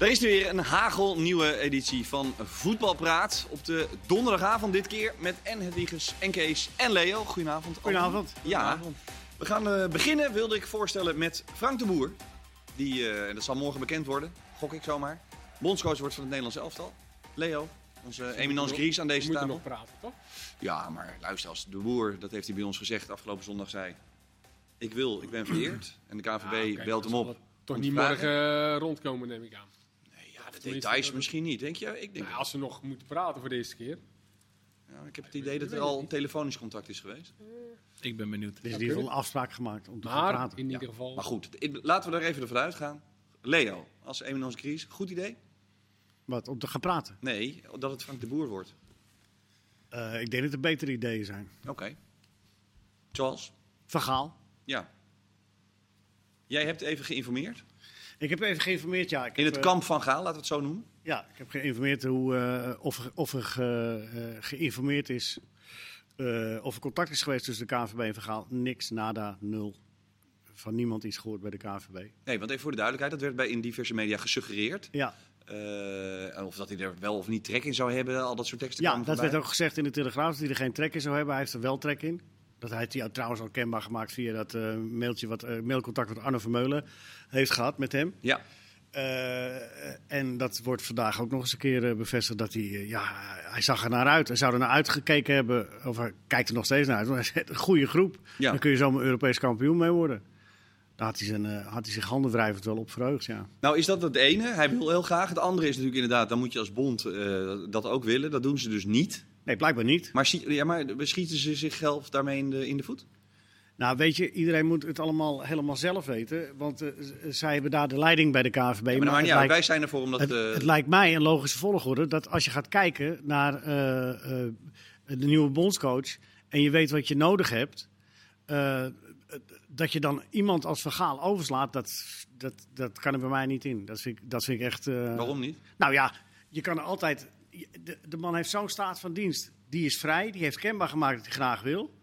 Er is nu weer een hagelnieuwe editie van Voetbalpraat. Op de donderdagavond dit keer met en Hedwiges en Kees en Leo. Goedenavond. allen. Goedenavond. Ja, we gaan eh, beginnen, wilde ik voorstellen, met Frank de Boer. Die, eh, en dat zal morgen bekend worden, gok ik zomaar, bondscoach wordt van het Nederlands elftal. Leo, onze eminence Gries aan deze We moeten tafel. nog praten, toch? Ja, maar luister, als de boer, dat heeft hij bij ons gezegd afgelopen zondag, zei... Ik wil, ik ben vereerd. En de KVB Ja, Ah, oké, belt Nou, dat hem zal op. wel om Toch te niet vragen. morgen eh, rondkomen, neem ik aan. Nee, ja, de tenminste, details dat- misschien niet, denk je? Ik, denk, Nou, als ze nog moeten praten voor de eerste keer. ja, ik heb het idee dat er al een telefonisch contact is geweest. Ik ben benieuwd. Er is in ieder geval een afspraak gemaakt om te gaan Maar praten. in ieder Ja. geval. Maar goed, ik- laten we daar even vanuit gaan. Leo, als Eminence Gries, goed idee? Wat, om te gaan praten? Nee, dat het Frank de Boer wordt. Eh, ik denk dat er betere ideeën zijn. Oké. Charles? Vergaal. Ja. Jij hebt even geïnformeerd. Ik heb even geïnformeerd, ja. Ik In heb, het eh, kamp van Gaal, laten we het zo noemen. ja, ik heb geïnformeerd hoe, eh, of, er- of er ge- eh, geïnformeerd is. eh, of er contact is geweest tussen de KVB en Vergaal. Niks, nada, nul. Van niemand iets gehoord bij de KVB. Nee, want even voor de duidelijkheid, dat werd bij in diverse media gesuggereerd. Ja, Eh, of dat hij er wel of niet trek in zou hebben, al dat soort teksten. ja dat kwamen voorbij. werd ook gezegd in de Telegraaf. Dat hij er geen trek in zou hebben. Hij heeft er wel trek in. Dat heeft hij trouwens al kenbaar gemaakt via dat eh, mailtje wat, eh, mailcontact wat Arno Vermeulen heeft gehad met hem. Ja, Eh, en dat wordt vandaag ook nog eens een keer eh, bevestigd dat hij, eh, ja, hij zag er naar uit. Hij zou er naar uitgekeken hebben, of hij kijkt er nog steeds naar uit. Want hij zegt, een goede groep, Ja. dan kun je zomaar Europees kampioen mee worden. Daar had hij, zijn, eh, had hij zich handenwrijvend wel op verheugd, ja. nou is dat het ene. Hij wil heel graag. Het andere is natuurlijk inderdaad, dan moet je als bond eh, dat ook willen. Dat doen ze dus niet. Nee, blijkbaar niet. Maar, zie- ja, maar schieten ze zichzelf daarmee in de, in de voet? Nou, weet je, iedereen moet het allemaal helemaal zelf weten. Want eh, z- zij hebben daar de leiding bij de KVB. Ja, maar maar maar het ja, lijkt- wij zijn ervoor omdat. Het, eh, het lijkt mij een logische volgorde dat als je gaat kijken naar eh, eh, de nieuwe bondscoach en je weet wat je nodig hebt, eh, dat je dan iemand als vergaal overslaat, dat, dat, dat kan er bij mij niet in. Dat vind ik, dat vind ik echt. eh, waarom niet? Nou ja, je kan er altijd. je- De, de man heeft zo'n staat van dienst. Die is vrij, die heeft kenbaar gemaakt dat hij graag wil.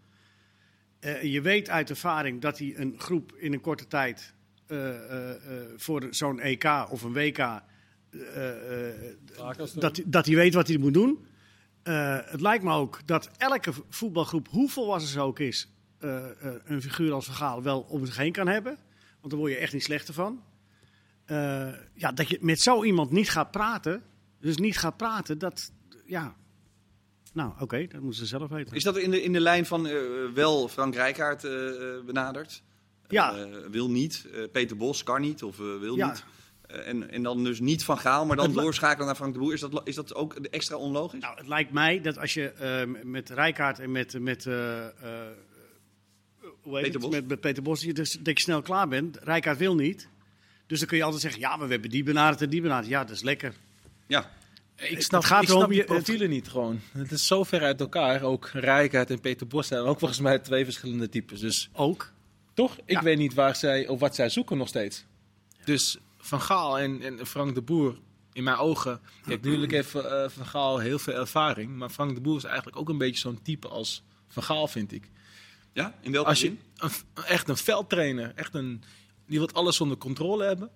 Eh, je weet uit ervaring dat hij een groep in een korte tijd eh, eh, eh, voor zo'n EK of een WK eh, eh, Vaak als er- dat, hij- dat hij weet wat hij moet doen. Eh, het lijkt me ook dat elke v- voetbalgroep, hoe volwassen ze ook is, eh, eh, een figuur als Vergaal wel om zich heen kan hebben. Want daar word je echt niet slechter van. Eh, ja, dat je met zo iemand niet gaat praten, dus niet gaat praten, dat, ja... Nou, oké, dat moeten ze zelf weten. Is dat in de, in de lijn van eh, wel Frank Rijkaard eh, eh, benaderd? Ja. Eh, wil niet. Eh, Peter Bos kan niet of eh, wil Ja. niet. Eh, en, en dan dus niet van Gaal, maar dan Het la- doorschakelen naar Frank de Boer. Is dat, lo- is dat ook extra onlogisch? Nou, het lijkt mij dat als je eh, met Rijkaard en met, met, eh, eh, hoe heet Peter het? Bos. met, met Peter Bos, dat je, dus, dat je snel klaar bent. Rijkaard wil niet. Dus dan kun je altijd zeggen, ja, maar we hebben die benaderd en die benaderd. Ja, dat is lekker. Ja. Ik snap, gaat ik erom, snap die je- het- profielen niet gewoon. Het is zo ver uit elkaar. Ook Rijkaard en Peter Bos zijn ook volgens mij twee verschillende types. Dus Ook. toch, ik Ja. weet niet waar zij, of wat zij zoeken nog steeds. Dus Van Gaal en, en Frank de Boer, in mijn ogen... Kijk, natuurlijk heeft eh, Van Gaal heel veel ervaring. Maar Frank de Boer is eigenlijk ook een beetje zo'n type als Van Gaal, vind ik. ja? In welke Als je zin? een, echt een veldtrainer, echt een, die wil alles onder controle hebben.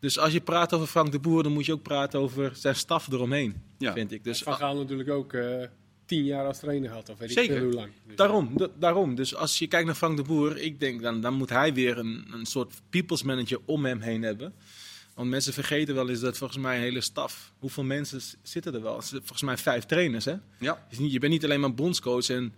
Dus als je praat over Frank de Boer, dan moet je ook praten over zijn staf eromheen, Ja. vind ik. Dus Van Gaal natuurlijk ook eh, tien jaar als trainer had, of weet Zeker. ik veel hoe lang. Dus, daarom, da- daarom. Dus als je kijkt naar Frank de Boer, ik denk dan, dan moet hij weer een, een soort people's manager om hem heen hebben. Want mensen vergeten wel eens dat volgens mij een hele staf, hoeveel mensen s- zitten er wel? Z- Volgens mij vijf trainers, hè? Ja. Dus niet- je bent niet alleen maar bondscoach. En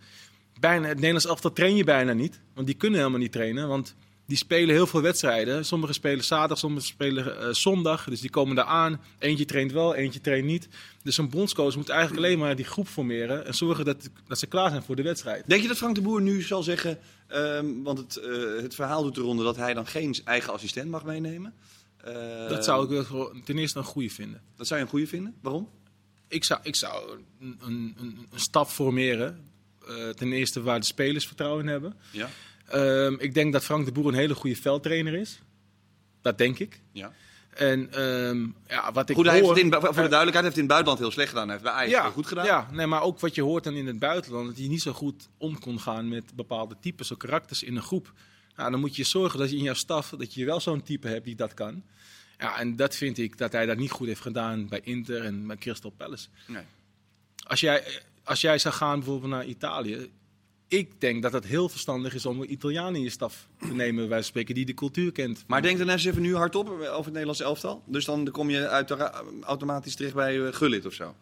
bijna, het Nederlands elftal train je bijna niet. Want die kunnen helemaal niet trainen. Want die spelen heel veel wedstrijden. Sommigen spelen zaterdag, sommigen spelen eh, zondag. Dus die komen daar aan. Eentje traint wel, eentje traint niet. Dus een bondscoach moet eigenlijk alleen maar die groep formeren. En zorgen dat, dat ze klaar zijn voor de wedstrijd. Denk je dat Frank de Boer nu zal zeggen, ehm, want het, eh, het verhaal doet eronder dat hij dan geen eigen assistent mag meenemen? Eh, dat zou ik wel gewoon ten eerste een goede vinden. dat zou je een goede vinden. Waarom? Ik zou, ik zou een, een, een, een stap formeren. eh, ten eerste waar de spelers vertrouwen in hebben. Ja. Ehm, ik denk dat Frank de Boer een hele goede veldtrainer is. Dat denk ik. ja. En ehm, ja, wat ik Goed, hij hoor... heeft het in, voor de duidelijkheid, hij heeft het in het buitenland heel slecht gedaan. Hij heeft bij Ajax ja, heel goed gedaan. Ja, nee, maar ook wat je hoort dan in het buitenland, dat hij niet zo goed om kon gaan met bepaalde types of karakters in een groep. Nou, dan moet je zorgen dat je in jouw staf dat je wel zo'n type hebt die dat kan. Ja, en dat vind ik dat hij dat niet goed heeft gedaan bij Inter en bij Crystal Palace. Nee. Als jij, als jij zou gaan bijvoorbeeld naar Italië. Ik denk dat het heel verstandig is om een Italiaan in je staf te nemen, bij wijze van spreken, die de cultuur kent. Maar denk dan eens even nu hardop over het Nederlands elftal. Dus dan kom je uitera- automatisch terecht bij eh, Gullit of zo.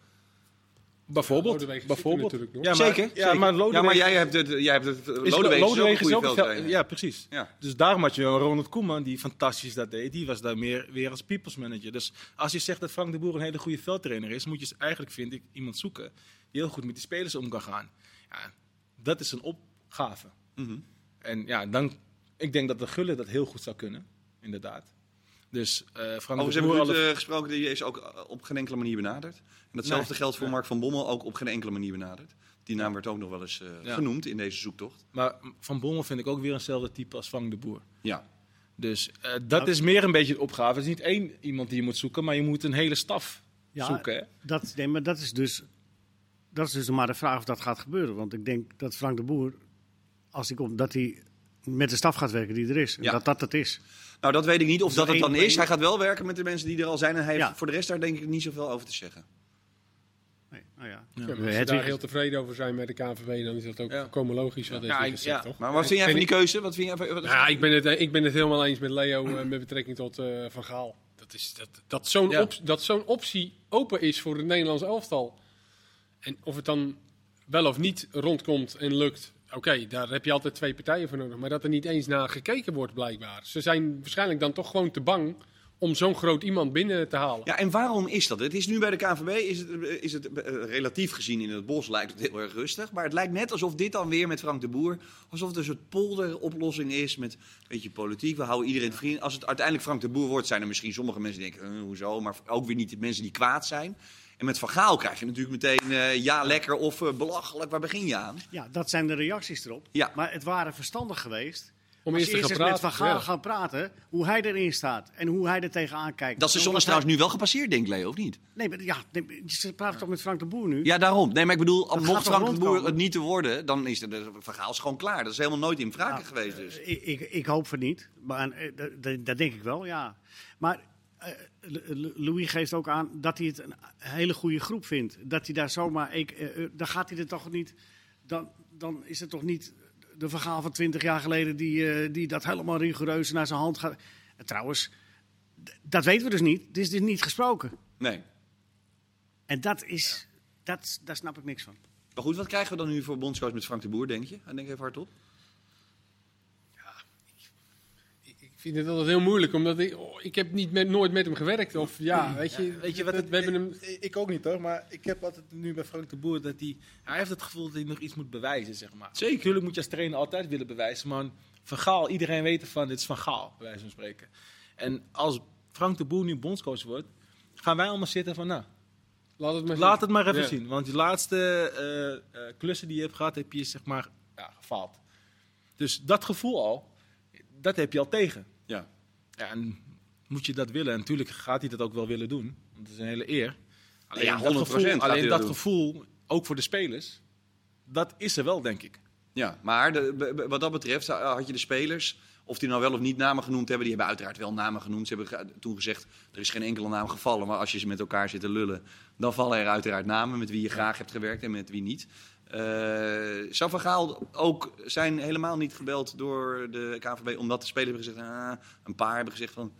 Bijvoorbeeld. Lodewijk is bijvoorbeeld. natuurlijk nog. Ja, maar, zeker? Ja, zeker. maar Lodewijk, Ja, maar jij hebt het... eh, Jij hebt het is, Lodewijk is ook een Lodewijk goede is ook een veldtrainer. veld- Ja, precies. Ja. Dus daarom had je een Ronald Koeman die fantastisch dat deed. Die was daar meer weer als people's manager. Dus als je zegt dat Frank de Boer een hele goede veldtrainer is, moet je dus eigenlijk, vind ik, iemand zoeken die heel goed met die spelers om kan gaan. Ja, dat is een opgave. Mhm. En ja, dan, ik denk dat de Gullen dat heel goed zou kunnen, inderdaad. Dus eh, Frank Overigens de hebben Boer... we alle- Ruud eh, gesproken, die is ook eh, op geen enkele manier benaderd. En datzelfde Nee. geldt voor Ja. Mark van Bommel, ook op geen enkele manier benaderd. Die naam werd ook nog wel eens eh, Ja. genoemd in deze zoektocht. Maar Van Bommel vind ik ook weer eenzelfde type als Frank de Boer. Ja, Dus eh, dat is meer een beetje de opgave. Het is niet één iemand die je moet zoeken, maar je moet een hele staf Ja, zoeken. hè? Dat, nee, maar dat is dus, dat is dus maar de vraag of dat gaat gebeuren. Want ik denk dat Frank de Boer, als hij komt, dat hij met de staf gaat werken die er is. En Ja. dat dat het is. nou dat weet ik niet of Is dat er het één- dan is. één- Hij gaat wel werken met de mensen die er al zijn. En hij heeft Ja. voor de rest daar denk ik niet zoveel over te zeggen. Nee, nou ja. Ja, maar we- als ze het daar is- heel tevreden over zijn met de KNVB, dan is dat ook Ja. volkomen logisch wat Ja, heeft hij ik- gezegd, ja. toch? Maar wat vind jij En van die ik- keuze? Wat vind jij, wat- Ja, ik ben het, eh, ik ben het helemaal eens met Leo eh, met betrekking tot eh, Van Gaal. Dat, is- dat, dat zo'n Ja. op- dat zo'n optie open is voor het Nederlands elftal. En of het dan wel of niet rondkomt en lukt. Oké, daar heb je altijd twee partijen voor nodig. Maar dat er niet eens naar gekeken wordt, blijkbaar. Ze zijn waarschijnlijk dan toch gewoon te bang om zo'n groot iemand binnen te halen. Ja, en waarom is dat? Het is nu bij de KNVB, is het, eh, is het eh, relatief gezien in het bos lijkt het heel erg rustig. Maar het lijkt net alsof dit dan weer met Frank de Boer, alsof het een soort polderoplossing is met een beetje politiek. We houden iedereen vriend. Als het uiteindelijk Frank de Boer wordt, zijn er misschien sommige mensen die denken, eh, hoezo? Maar ook weer niet de mensen die kwaad zijn. En met Van Gaal krijg je natuurlijk meteen, eh, ja lekker of eh, belachelijk, waar begin je aan? Ja, dat zijn de reacties erop. Ja. Maar het waren verstandig geweest Om als eerst je te eerst gaan eens met Van praten. Gaal Ja. gaan praten, hoe hij erin staat en hoe hij er tegenaan kijkt. Dat seizoen is Omdat hij- trouwens nu wel gepasseerd, denkt Leo, of niet? Nee, maar, ja, nee, ze praten toch met Frank de Boer nu? Ja, daarom. Nee, maar ik bedoel, Dat mocht gaat toch Frank de Boer rondkomen? het niet te worden, dan is het het verhaal is gewoon klaar. Dat is helemaal nooit in vraag Ja, geweest dus. Ik, ik, ik hoop van niet, maar eh, dat- dat, dat denk ik wel, ja. Maar eh, L- L- Louis geeft ook aan dat hij het een hele goede groep vindt. Dat hij daar zomaar, ik, eh, eh, dan gaat hij er toch niet, dan, dan is het toch niet de verhaal van twintig jaar geleden die, eh, die dat helemaal rigoureus naar zijn hand gaat. En trouwens, d- dat weten we dus niet. Het is dus niet gesproken. Nee. En dat is, dat, daar snap ik niks van. Maar goed, wat krijgen we dan nu voor bondscoach met Frank de Boer, denk je? En denk even hardop. Ik- Ik vind het altijd heel moeilijk, omdat ik, oh, ik heb niet met, nooit met hem gewerkt. Of ja, weet je, Weet je wat dat- het- we hebben hem... ik, ik ook niet hoor, maar ik heb altijd nu bij Frank de Boer dat hij... Hij heeft het gevoel dat hij nog iets moet bewijzen, zeg maar. Zeker. Natuurlijk moet je als trainer altijd willen bewijzen, maar Van Gaal, iedereen weet van dit is Van Gaal, bij wijze van spreken. En als Frank de Boer nu bondscoach wordt, gaan wij allemaal zitten van nou, Laat het maar, laat het maar even Ja. zien. Want die laatste eh, eh, klussen die je hebt gehad, heb je zeg maar ja, gefaald. Dus dat gevoel al, dat heb je al tegen. Ja. Ja, en moet je dat willen? En natuurlijk gaat hij dat ook wel willen doen. Want het is een hele eer. Alleen Ja, dat 100% gevoel, gaat hij alleen dat dat doen. gevoel, ook voor de spelers, dat is er wel, denk ik. ja. Maar de- be- be- wat dat betreft eh, had je de spelers, of die nou wel of niet namen genoemd hebben, die hebben uiteraard wel namen genoemd. Ze hebben ge- toen gezegd, er is geen enkele naam gevallen. Maar als je ze met elkaar zit te lullen, dan vallen er uiteraard namen met wie je graag hebt gewerkt en met wie niet. Eh zou Van Gaal ook zijn helemaal niet gebeld door de KVB omdat de spelers hebben gezegd, ah, een paar hebben gezegd van,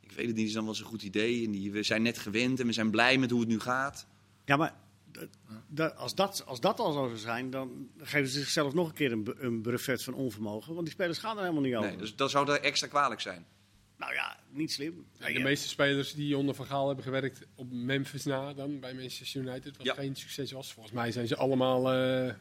ik weet het niet, is dan wel eens een goed idee. En die, we zijn net gewend en we zijn blij met hoe het nu gaat. Ja, maar d- d- als, dat, als dat al zo zou zijn, dan geven ze zichzelf nog een keer een, bu- een brevet van onvermogen. Want die spelers gaan er helemaal niet over. Nee, dus dat zou daar extra kwalijk zijn. Nou ja, niet slim. En de meeste spelers die onder Van Gaal hebben gewerkt op Memphis na dan bij Manchester United, wat Ja. geen succes was. Volgens mij zijn ze allemaal, eh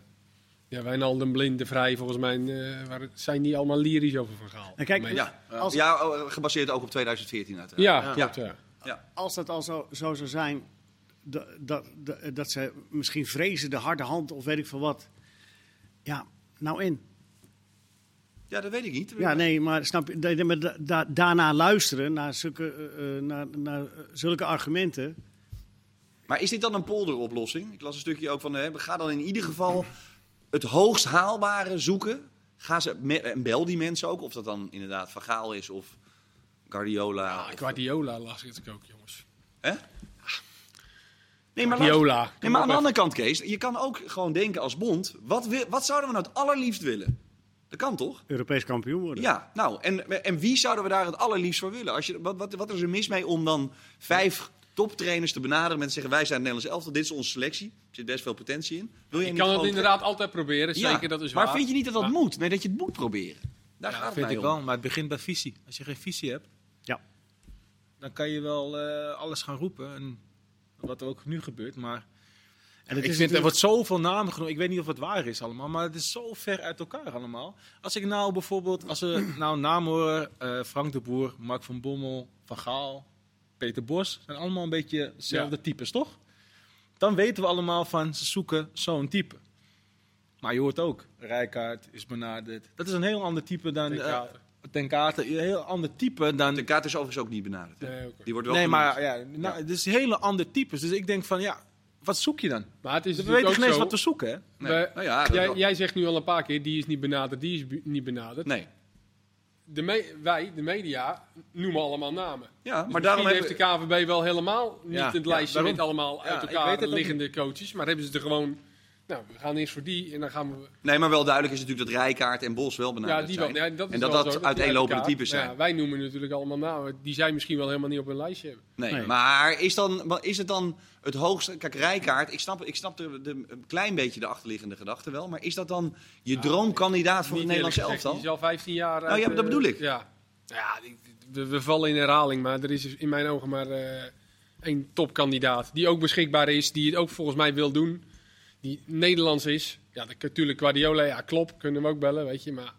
ja, Wijnaldum, Blind, De Vrij, volgens mij eh, waar, zijn die allemaal lyrisch over Van Gaal. En kijk, De meeste. Ja, Als- ja oh, gebaseerd ook op 2014 uiteraard. ja, Ja. klopt, ja. eh, als dat al zo, zo zou zijn, dat, dat, dat, eh, dat ze misschien vrezen de harde hand of weet ik veel wat. Ja, nou in. Ja, dat weet ik niet. Ja, nee, maar snap je, nee, maar da- da- daarna luisteren naar zulke, eh, eh, naar, naar eh, zulke argumenten. Maar is dit dan een polderoplossing? Ik las een stukje ook van, hè, we gaan dan in ieder geval het hoogst haalbare zoeken. Ga ze, me- en bel die mensen ook, of dat dan inderdaad Van Gaal is of Guardiola. Ah, of- Guardiola las ik ook, jongens. hè? Nee, maar, laat- Guardiola. nee, maar aan de andere kant, Kees, je kan ook gewoon denken als bond, wat, wil- wat zouden we nou het allerliefst willen? Dat kan toch? Europees kampioen worden. Ja, nou, en, en wie zouden we daar het allerliefst voor willen? Als je, wat, wat, wat is er mis mee om dan vijf toptrainers te benaderen met te zeggen... wij zijn het Nederlands elftal, dit is onze selectie. Er zit best veel potentie in. Wil je Je niet kan het gewoon- inderdaad altijd proberen, Ja, zeker dat is maar waar. vind je niet dat dat Ja. moet? Nee, dat je het moet proberen. Daar gaat het vind mij ik om. wel. Maar het begint bij visie. Als je geen visie hebt, Ja. dan kan je wel eh, alles gaan roepen. En wat er ook nu gebeurt. Maar En het is ik vind, er natuurlijk- wordt zoveel namen genoemd. Ik weet niet of het waar is allemaal, maar het is zo ver uit elkaar allemaal. Als ik nou bijvoorbeeld, als we nou namen horen, eh, Frank de Boer, Mark van Bommel, Van Gaal, Peter Bos, zijn allemaal een beetje dezelfde types, toch? Dan weten we allemaal van, ze zoeken zo'n type. Maar je hoort ook, Rijkaard is benaderd. Dat is een heel ander type dan... Ten eh, Kate. Ten Kate, een heel ander type dan... De kaart is overigens ook niet benaderd. hè? Nee, oké. Die wordt wel Nee, genoemd. maar ja, nou, het is een hele ander types. Dus ik denk van, ja, wat zoek je dan? Maar het is We natuurlijk weten geen ook eens zo. wat we zoeken, hè? Nee. we- Nou ja, dat jij, wel. jij zegt nu al een paar keer, die is niet benaderd, die is bu- niet benaderd. Nee. De me- wij, de media, noemen allemaal namen. Ja, Dus maar misschien daarom hebben heeft de KVB wel helemaal niet Ja, het ja, lijstje daarom. met allemaal Ja, uit ik elkaar weet het ook liggende coaches. Maar hebben ze er gewoon, nou, we gaan eerst voor die en dan gaan we... Nee, maar wel duidelijk is natuurlijk dat Rijkaard en Bos wel benaderd Ja, die wel. zijn. Ja, dat is en Nou, dat wel dat zo, die uiteenlopende elkaar- types zijn. Nou ja, wij noemen natuurlijk allemaal namen die zij misschien wel helemaal niet op hun lijstje hebben. Nee, Nee. maar is, dan, wa- is het dan het hoogste... Kijk, Rijkaard, ik snap, ik snap de, de, een klein beetje de achterliggende gedachte wel. Maar is dat dan je droomkandidaat voor Nou, Niet het Nederlands eerlijk gezegd, elftal? Die is al 15 jaar. Nou ja, uit, dat eh, bedoel ik. Ja, ja die- die- we, we vallen in herhaling, maar er is dus in mijn ogen maar eh, één topkandidaat. Die ook beschikbaar is, die het ook volgens mij wil doen. Die Nederlands is. Ja, dat- natuurlijk Guardiola, ja, klopt. Kunnen we ook bellen, weet je. Maar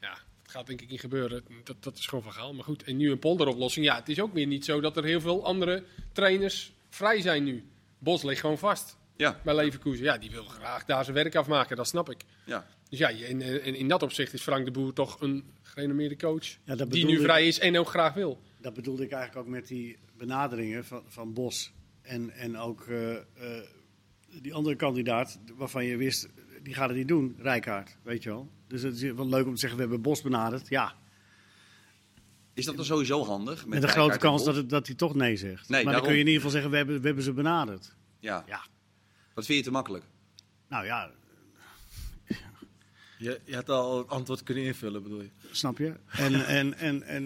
ja, dat gaat denk ik niet gebeuren. Dat, dat is gewoon van gaal. Maar goed, en nu een polderoplossing. Ja, het is ook weer niet zo dat er heel veel andere trainers vrij zijn nu. Bos ligt gewoon vast Ja, bij Leverkusen. Ja, die wil graag daar zijn werk afmaken, dat snap ik. ja. Dus ja, en, en in dat opzicht is Frank de Boer toch een gerenommeerde coach. Ja, dat die bedoel nu ik. vrij is en ook graag wil. Dat bedoelde ik eigenlijk ook met die benaderingen van, van Bos. En, en ook eh, eh, die andere kandidaat, waarvan je wist, die gaat het niet doen, Rijkaard, weet je wel. Dus het is wel leuk om te zeggen, we hebben Bos benaderd. Ja, Is dat dan sowieso handig? met een grote Rijkaard en kans Bos? dat, het, dat hij toch nee Nee, zegt. maar dan daarom. kun je in ieder geval zeggen, we hebben, we hebben ze benaderd. Ja. Ja, Wat vind je te makkelijk? nou ja, Je, je had al het antwoord kunnen invullen, bedoel je? snap je. En, en, en, en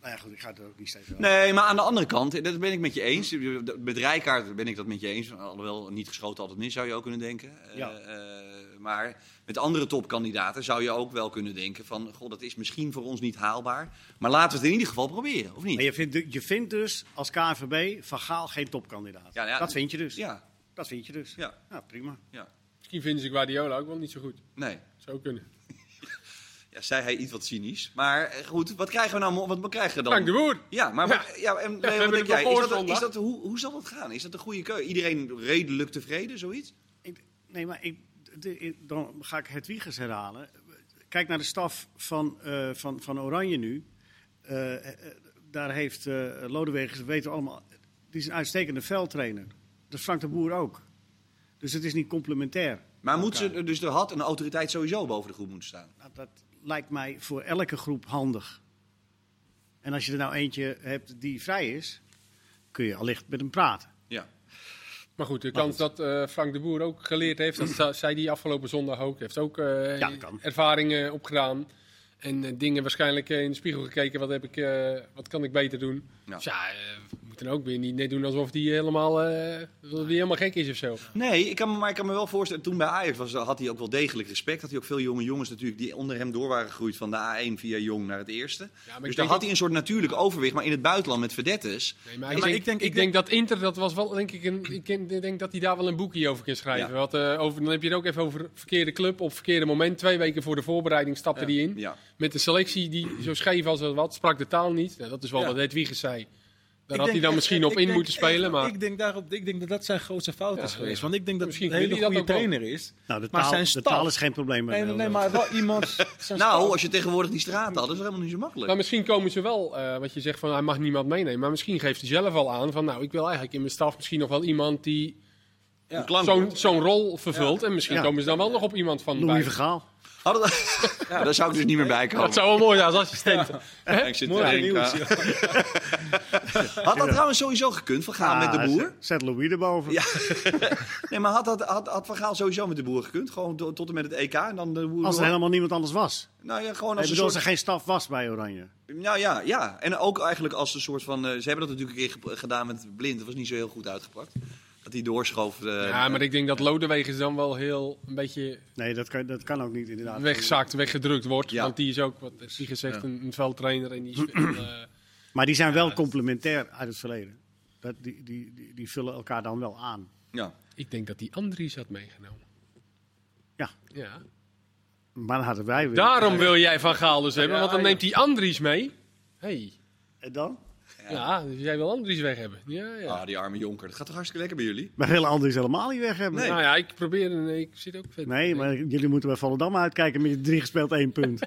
nou ja, goed, ik ga het er ook niet steeds over. Nee, maar aan de andere kant, dat ben ik met je eens. Met Rijkaard ben ik dat met je eens. Alhoewel, niet geschoten altijd mis, zou je ook kunnen denken. Eh, Ja. eh, maar met andere topkandidaten zou je ook wel kunnen denken van... ...goh, dat is misschien voor ons niet haalbaar. Maar laten we het in ieder geval proberen, of niet? Maar je vindt, du- je vindt dus als KNVB van Gaal geen topkandidaat. Ja, ja. dat vind je dus. Ja, Dat vind je dus. ja, Nou, prima. ja. Misschien vinden ze Guardiola ook wel niet zo goed. Nee. Zou kunnen. Ja, zei hij iets wat cynisch. Maar eh, goed, wat krijgen we nou... mo- Wat krijgen we dan? Frank de Boer. Ja, maar wat- ja. en Leo, wat hebben denk het jij? nog Is voor dat, is zondag. dat, hoe, hoe zal dat gaan? Is dat een goede keuze? Iedereen redelijk tevreden, zoiets? Ik- nee, maar ik, de- ik- dan ga ik het Wiegers herhalen. Kijk naar de staf van, eh, van, van Oranje nu. Eh, eh, eh, daar heeft eh Lodewegers, dat weten we allemaal, die is een uitstekende veldtrainer. Dat is Frank de Boer ook. Dus het is niet complementair. Maar moet ze, dus er had een autoriteit sowieso boven de groep moeten staan. Nou, dat lijkt mij voor elke groep handig. En als je er nou eentje hebt die vrij is, kun je allicht met hem praten. Ja. Maar goed, de kans dat eh, Frank de Boer ook geleerd heeft, dat za- zei die afgelopen zondag ook. Heeft ook eh, Ja, dat kan. ervaringen opgedaan. En eh, dingen waarschijnlijk eh, in de spiegel gekeken. Wat, heb ik, eh, wat kan ik beter doen? Ja. Dus ja, eh, we moeten ook weer niet net doen alsof die helemaal, eh, dat die helemaal gek is of zo. Nee, ik kan, me- maar ik kan me wel voorstellen, toen bij Ajax was, had hij ook wel degelijk respect. Had hij ook veel jonge jongens natuurlijk die onder hem door waren gegroeid van de A1 via jong naar het eerste. maar ik dus denk daar had dat- hij een soort natuurlijk overwicht. Maar in het buitenland met verdettes. Nee, maar Ja, ik, maar denk, ik denk- ik ik denk dat Inter, dat was wel, denk ik, een, ik ken- ik denk dat hij daar wel een boekje over kan schrijven. Ja. Want, eh, over, dan heb je het ook even over verkeerde club op verkeerde moment. Twee weken voor de voorbereiding stapte die in. Ja. Met een selectie die zo scheef als wat, sprak de taal niet. Nou, dat is wel Ja. wat Hedwiges zei. Daar Ik had denk hij dan echt- misschien ik op in denk moeten echt- spelen. Maar Ik denk, daarop, ik denk dat dat zijn grootste fout Ja, is geweest. ja. Want ik denk dat Misschien het een wil hele hij dat goede ook wel. trainer is. Nou, de Maar taal, zijn de staf- taal is geen probleem. Nee, nee, eh, maar wel iemand... zijn Nou, staf- als je tegenwoordig die straat had, dat is helemaal niet zo makkelijk. maar misschien komen ze wel, eh, wat je zegt van hij mag niemand meenemen. Maar misschien geeft hij zelf al aan van nou, ik wil eigenlijk in mijn staf misschien nog wel iemand die Een klankbord. zo'n zo'n rol vervult. En misschien Ja. komen ze dan wel nog op iemand van. Louis bij. Vergaal. Hadden we- ja, daar zou ik dus niet meer bij komen. Dat zou wel mooi zijn als assistent. Ik zit te Mooi denken, nieuws. ah. ja. Had dat trouwens sowieso gekund, Van Gaal met de boer? Ah, Zet, zet Louis erboven. Ja. nee, maar had, dat, had, had Van Gaal sowieso met de boer gekund? Gewoon to- tot en met het EK en dan de boer... Als er helemaal niemand anders was. Nou ja, gewoon Als als een bedoel, als er soort... geen staf was bij Oranje. Nou ja, ja. En ook eigenlijk als een soort van... eh, ze hebben dat natuurlijk een keer ge- gedaan met Blind. Dat was niet zo heel goed uitgepakt. Dat hij doorschoof. eh, Ja, maar ik denk dat Lodewegens dan wel heel een beetje Nee, dat kan, dat kan ook niet inderdaad. wegzaakt, weggedrukt wordt. Ja. Want die is ook, wat is die gezegd, een, een veldtrainer. En die is veel, eh, Maar die zijn wel complementair uit het verleden. Dat, die, die, die, die vullen elkaar dan wel aan. ja. ik denk dat die Andries had meegenomen. Ja. ja. Maar dan hadden wij weer. Daarom wil jij Van Gaal dus hebben, Ja, want dan ja. neemt die Andries mee. Hey. En dan? Ja. dus jij wil Andries weg hebben. Ja, ja. Ah, die arme jonker. Dat gaat toch hartstikke lekker bij jullie? Maar willen Andries helemaal niet weg hebben. Nee. Nou ja, ik probeer, en ik zit ook verder. Nee, maar jullie moeten bij Volendam uitkijken met je drie gespeeld één punt.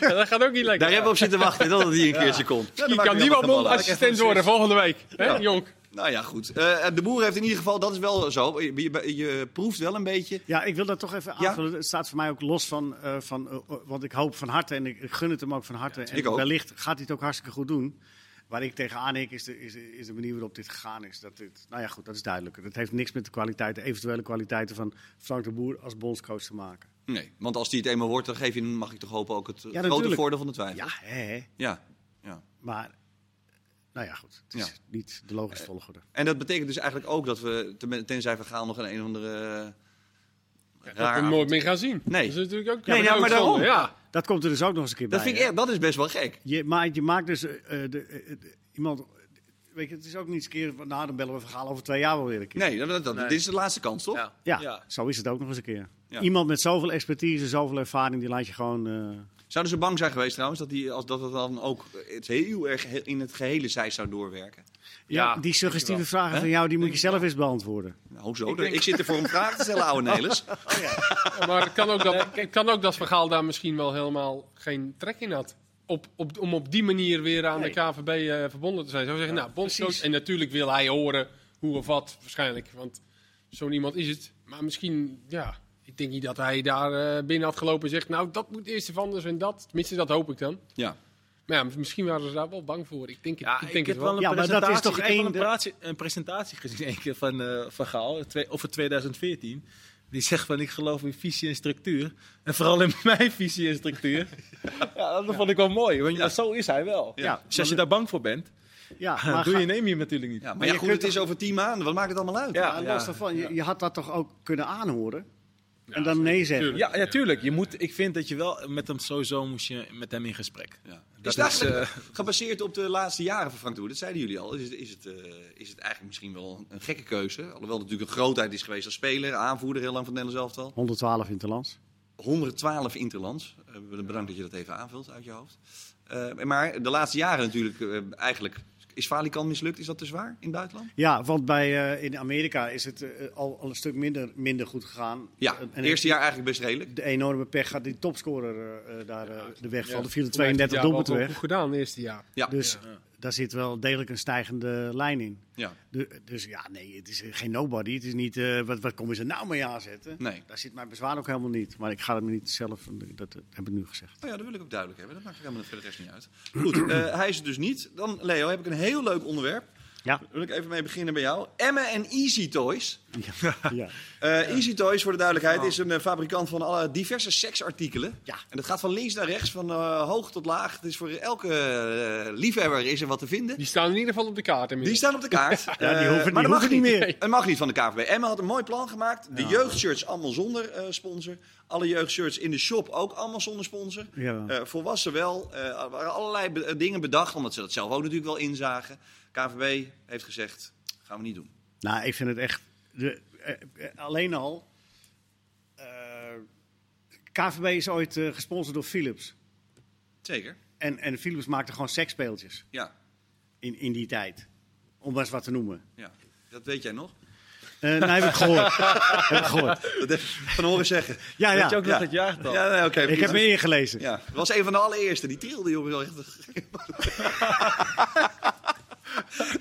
Ja, dat gaat ook niet lekker. Daar hebben we op zitten wachten dat hij een keertje komt. Ja, dan Die maakt kan hij die wel altijd een bond bal uit. assistent worden volgende week. Hè, Jonk? Nou ja, goed. Eh, de boer heeft in ieder geval, dat is wel zo. Je, je- je proeft wel een beetje. Ja, ik wil dat toch even Ja. aanvullen. Het staat voor mij ook los van, eh, van eh, want ik hoop van harte en ik ik gun het hem ook van harte. en ik ook. wellicht gaat hij het ook hartstikke goed doen. Waar ik tegenaan hik is de, is, is de manier waarop dit gegaan is. Dat dit, nou ja, goed, dat is duidelijk. Dat heeft niks met de kwaliteiten, eventuele kwaliteiten van Frank de Boer als bondscoach te maken. Nee, want als die het eenmaal wordt, dan geef je, hem, mag ik toch hopen, ook het eh, grote natuurlijk. voordeel van de twijfel. Ja, hè, hè. ja. ja. Maar, nou ja, goed. Het is Ja. niet de logische volgorde. En dat betekent dus eigenlijk ook dat we, ten- tenzij we gaan nog een een of andere... eh, Dat we raar- hem nooit meer gaan zien. Nee. Dat is natuurlijk ook Nee, dat is ja, maar ook zonde, daarom. Ja. Dat komt er dus ook nog eens een keer Dat bij. vind ik hè? echt, dat is best wel gek. Je, maar je maakt dus eh, eh, de, eh, de- iemand... Weet je, het is ook niet eens een keer... van, Nou, dan bellen we verhaal over twee jaar wel weer een keer. Nee, dat, dat- dat- dit is de laatste kans, toch? Ja. Ja, Ja. zo is het ook nog eens een keer. Ja. Iemand met zoveel expertise, zoveel ervaring, die laat je gewoon... eh, Zouden ze bang zijn geweest trouwens dat, die, als, dat het dan ook het heel erg he- in het gehele zij zou doorwerken? ja, Ja, die suggestieve wel. vragen van jou, die moet je zelf eens beantwoorden. Nou, zo. Ik, zit er voor om vragen te stellen, ouwe Nelis. Ja, Maar het kan ook dat, het kan ook dat Vergaal daar misschien wel helemaal geen trek in had. Op, op, om op die manier weer aan Nee. de KVB eh, verbonden te zijn. Zou zeggen, nou, bondscoach. precies. En natuurlijk wil hij horen hoe of wat, waarschijnlijk. Want zo'n iemand is het. Maar misschien, ja, ik denk niet dat hij daar eh, binnen had gelopen en zegt... nou, dat moet eerst even anders en dat. Tenminste, dat hoop ik dan. Ja. Maar ja, misschien waren ze daar wel bang voor. Ik denk het, ik ik, denk heb het wel. wel een Ja, maar dat is presentatie- toch ik heb wel één- een, praatje- een presentatie gezien één keer van eh, Van Gaal, twee, over 2014. Die zegt van, ik geloof in visie en structuur. En vooral in mijn visie en structuur. ja, dat vond ik wel mooi, want ja, zo is hij wel. Ja, Dus als je daar bang voor bent, ja dan maar doe ga- je neem je hem natuurlijk niet. ja, maar Maar ja, je goed, kunt het is over tien maanden. Wat maakt het allemaal uit? Ja. ja, los daarvan, je, je had dat toch ook kunnen aanhoren? en dan nee zeggen. Tuurlijk. Ja, ja, tuurlijk. Je moet, ik vind dat je wel met hem sowieso moest je met hem in gesprek. Ja. Dat is eh, het is, eigenlijk gebaseerd op de laatste jaren van Frank de Boer? Dat zeiden jullie al. Is het, is, het, eh, is het eigenlijk misschien wel een gekke keuze? Alhoewel het natuurlijk een grootheid is geweest als speler, aanvoerder heel lang van het Nederlands elftal. 112 in het land. 112 interlands. Eh, bedankt dat je dat even aanvult uit je hoofd. Eh, maar de laatste jaren natuurlijk eh, eigenlijk... Is Valikan mislukt? Is dat te zwaar in het buitenland? Ja, want bij, eh, in Amerika is het eh, al, al een stuk minder, minder goed gegaan. Ja, En- het en eerste jaar eigenlijk best redelijk. De enorme pech gaat die topscorer eh, eh, daar eh, de weg van. Ja, Er vielen voor mij 32 heeft hij het doelpunten jaar wel weg. goed gedaan, het eerste jaar. Ja, Dus daar zit wel degelijk een stijgende lijn in. ja. Du- Dus ja, nee, het is geen nobody. Het is niet, eh, wat, wat komen ze nou mee aanzetten? Nee. Daar zit mijn bezwaar ook helemaal niet. Maar ik ga hem niet zelf, dat eh, heb ik nu gezegd. Oh ja, dat wil ik ook duidelijk hebben. Dat maakt helemaal voor de rest niet uit. Goed, eh, hij is het dus niet. Dan, Leo, heb ik een heel leuk onderwerp. Ja. Daar wil ik even mee beginnen bij jou. Emma en Easy Toys. ja. Eh, Easy Toys, voor de duidelijkheid, is een eh, fabrikant van alle diverse seksartikelen. Ja. En dat gaat van links naar rechts, van eh, hoog tot laag. Het is voor elke eh, liefhebber is er wat te vinden. Die staan in ieder geval op de kaart Die inmiddels. staan op de kaart. die Eh, hoeven- die maar dat mag hoeven niet meer. Het mag niet van de KVB. Emma had een mooi plan gemaakt. De jeugdshirts allemaal zonder eh, sponsor. Alle jeugdshirts in de shop ook allemaal zonder sponsor. Ja. Eh, volwassen wel. Eh, er waren allerlei be- eh, dingen bedacht, omdat ze dat zelf ook natuurlijk wel inzagen. KVB heeft gezegd, gaan we niet doen. Nou, ik vind het echt. De, eh, eh, alleen al. eh, KVB is ooit eh, gesponsord door Philips. Zeker. En, en Philips maakte gewoon seksspeeltjes Ja, in, in die tijd. Om maar eens wat te noemen. ja. dat weet jij nog. Eh nee, heb ik gehoord. heb ik gehoord. Dat heb ik van horen zeggen. Ja, Weet je ja. ook nog dat jaartal? Ja, nee, oké. Ik heb me ingelezen. Ja, dat was een van de allereerste. Die trilde, jongen. Echt.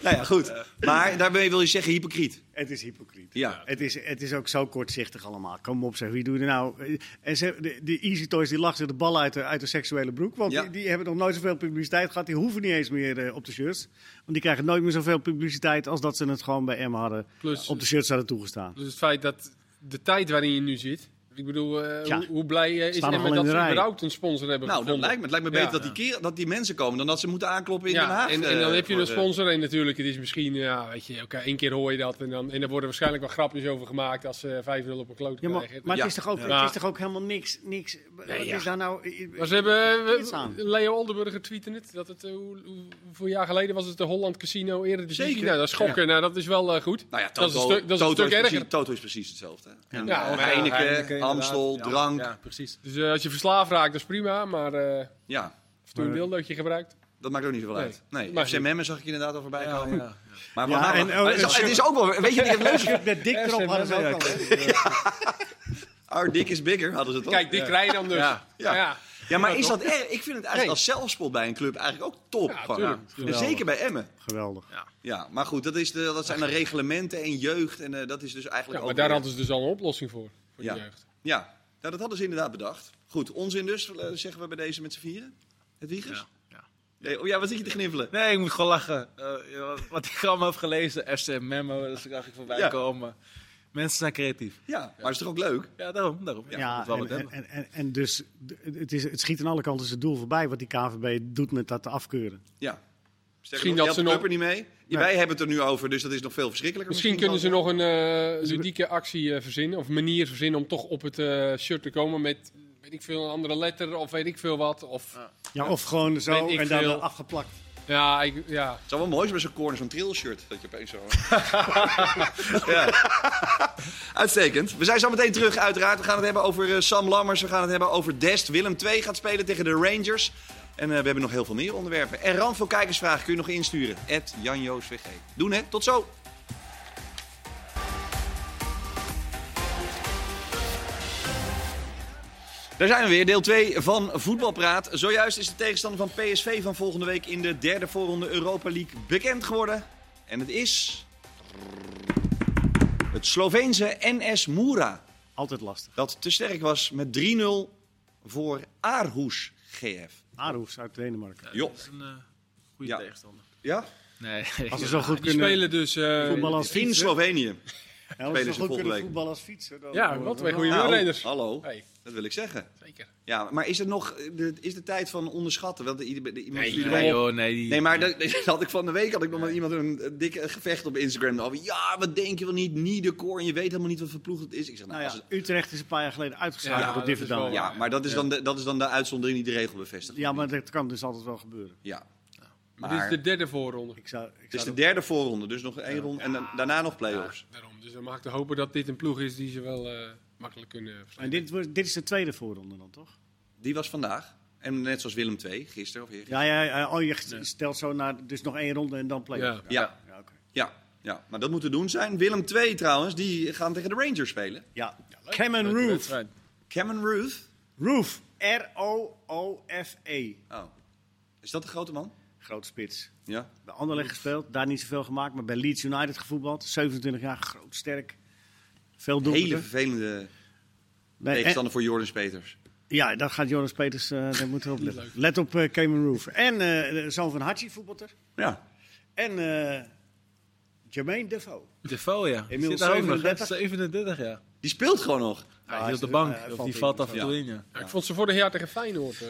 Nou ja, goed. Maar daarmee wil je zeggen hypocriet. Nou, Het is hypocriet. Ja. Het is, het is ook zo kortzichtig allemaal. Kom op, zeg, wie doet er nou? En ze, de, de Easy Toys die lachen de bal uit de, uit de seksuele broek. Want Ja. die, die hebben nog nooit zoveel publiciteit gehad. Die hoeven niet eens meer eh, op de shirts. Want die krijgen nooit meer zoveel publiciteit als dat ze het gewoon bij M hadden. Plus, op de shirts hadden toegestaan. dus het feit dat de tijd waarin je nu zit. Ik bedoel, eh, Ja. hoe, hoe blij eh, is Staan nog Emmen wel in dat de ze rij. überhaupt een sponsor hebben Nou, dat gevonden? lijkt me. Het lijkt me beter Ja. dat, die keer, dat die mensen komen dan dat ze moeten aankloppen in Den Haag. en, en eh, dan heb je voor een de- sponsor en natuurlijk, het is misschien, ja, weet je, oké, één keer hoor je dat en dan en er worden waarschijnlijk wel grapjes over gemaakt als ze 5-0 op een kloot Ja, maar krijgen. maar Ja. het, is toch ook, Ja. het is toch ook helemaal niks. niks wat ja. is daar nou? Maar ze hebben, Iets we- aan. Leo Oldenburger tweette het, dat het, eh, hoe, hoe- hoeveel jaar geleden was het de Holland Casino eerder Zeker. Nou, dat is schokken, nou dat is wel eh, goed. Nou ja, Dat is een Toto, stuk- dat is een Toto stuk is precies, erger. Toto is precies hetzelfde. hè. En, Ja, eh, ja, Heineken, Heineken, inderdaad. Amstel, Ja, drank. Ja, precies. Dus eh, als je verslaafd raakt, dat is prima, maar eh Ja, of toen een Maar- dildootje gebruikt. dat maakt ook niet zoveel Nee. uit. Nee, Maar- FCMM zag ik inderdaad al voorbij Ja, komen. ja. Maar, Ja, maar- en- maar het, is, en- het is ook wel... Weet je wie het leuk is? Met dik erop hadden ze ook al. Our dick is bigger, hadden ze toch? Kijk, dit krijg je dan dus. Ja. Ja. Ja, ja. ja, maar is dat erg? Ik vind het eigenlijk Nee. als zelfspot bij een club eigenlijk ook top. Ja, gewoon. tuurlijk. En zeker bij Emmen. Geweldig. Ja, maar goed, dat, is de, dat zijn de reglementen en jeugd. En eh, dat is dus eigenlijk maar ook daar weer- hadden ze dus al een oplossing voor, voor Ja. die jeugd. Ja, nou, dat hadden ze inderdaad bedacht. Goed, onzin dus, eh, zeggen we bij deze met z'n vieren. Het wiegers? Ja, ja. Nee, oh ja, wat zit je te gniffelen? Nee, ik moet gewoon lachen. Eh, ja, wat- wat ik allemaal heb gelezen, FC Memo, dat zag ik voorbij Ja. komen. Mensen zijn creatief. Ja, maar het is toch ook leuk? Ja, daarom, daarom. Ja, Ja, moet wel wat en, hebben. en, en, en dus d- het, is, het schiet aan alle kanten zijn doel voorbij wat die KVB doet met dat afkeuren. Ja. Sterker Misschien nog, dat je ze helpt de club nog- er niet mee. Ja, Wij hebben het er nu over, dus dat is nog veel verschrikkelijker. Misschien kunnen ze nog een eh, ludieke actie eh, verzinnen, of manier verzinnen om toch op het eh, shirt te komen met, weet ik veel, een andere letter of weet ik veel wat. Of, ja, Ja, of gewoon zo Weet ik en dan veel. afgeplakt. ik, ja. Het zou wel mooi zijn met zo'n corner, zo'n trailshirt. Dat je opeens zo... ja. Uitstekend. We zijn zo meteen terug, uiteraard. We gaan het hebben over eh, Sam Lammers. We gaan het hebben over Dest. Willem II gaat spelen tegen de Rangers. En eh, we hebben nog heel veel meer onderwerpen. En rand veel kijkersvragen kun je nog insturen. At JanJoosVG. Doen hè. Tot zo. Daar zijn we weer, deel 2 van Voetbalpraat. Zojuist is de tegenstander van PSV van volgende week in de derde voorronde Europa League bekend geworden. En het is. Het Sloveense NS Mura. Altijd lastig. Dat te sterk was met 3-0 voor Aarhus GF. Aarhus uit Denemarken. Joh. Dat is een eh, goede Ja. tegenstander. Ja? Nee, Als ze zo goed Die kunnen spelen dus... eh, voetballen als In fietsen. Slovenië. Ja, als ze spelen zo ze goed volgende kunnen week. voetballen als fietsen. dan- Ja, wat wij goede Nou, wielrenners. hallo. Hey, Dat wil ik zeggen. zeker. Ja, maar is het nog. de- Is de tijd van onderschatten? Want ieder- iemand- Nee, iedereen- nee, joh, nee, die- Nee, maar dat, dat had ik van de week had ik nog met iemand een, een dikke gevecht op Instagram. Over, ja, wat denk je wel niet? Niet de core. En je weet helemaal niet wat voor ploeg het is. Ik zeg, nou, Nou ja, als het- Utrecht is een paar jaar geleden Ja, uitgeschakeld door dat is Diverdam. wel- Ja. ja, maar dat is, dan de, dat is dan de uitzondering die de regel bevestigt. ja, maar dat kan dus altijd wel gebeuren. Ja. Maar Maar, dit is de derde voorronde. Ik zou, ik het is zou de derde voorronde, dus nog één ronde. En dan- daarna nog play-offs. Daarom. Dus dan mag ik te hopen dat dit een ploeg is die ze wel eh, makkelijk kunnen verslaan. en dit, wordt- dit is de tweede voorronde dan, toch? Die was vandaag. En net zoals Willem II, gisteren of eergisteren. Ja, ja, ja, oh, je stelt zo naar, dus nog één ronde en dan play Ja. Ja, Ja, oké. ja, ja. Maar dat moet te doen zijn. Willem II trouwens, die gaan tegen de Rangers spelen. ja. Cameron Leuke Roof. wedstrijd. Cameron Ruth. Roof. R-O-O-F-E. Oh. Is dat de grote man? E. Grote spits. Ja. Bij Anderlecht gespeeld, daar niet zoveel gemaakt, maar bij Leeds United gevoetbald. 27 jaar, groot, sterk. Veel Hele doelpunten. vervelende Nee, en- tegenstander voor Jordan Peters. Ja, dat gaat Joris Peters, eh daar moeten we op letten. Let op eh, Cameron Roof. En eh, de zoon van Hachi, voetballer. Ja. En eh Jermaine Defoe. Defoe, ja. Inmiddels Zit daar ook nog, hè? 37. 37, ja. Die speelt gewoon nog. Hij zit op de is- bank, eh, of valt die in, valt af en ja. toe in, ja. Ja, ik vond ze vorig jaar tegen Feyenoord eh,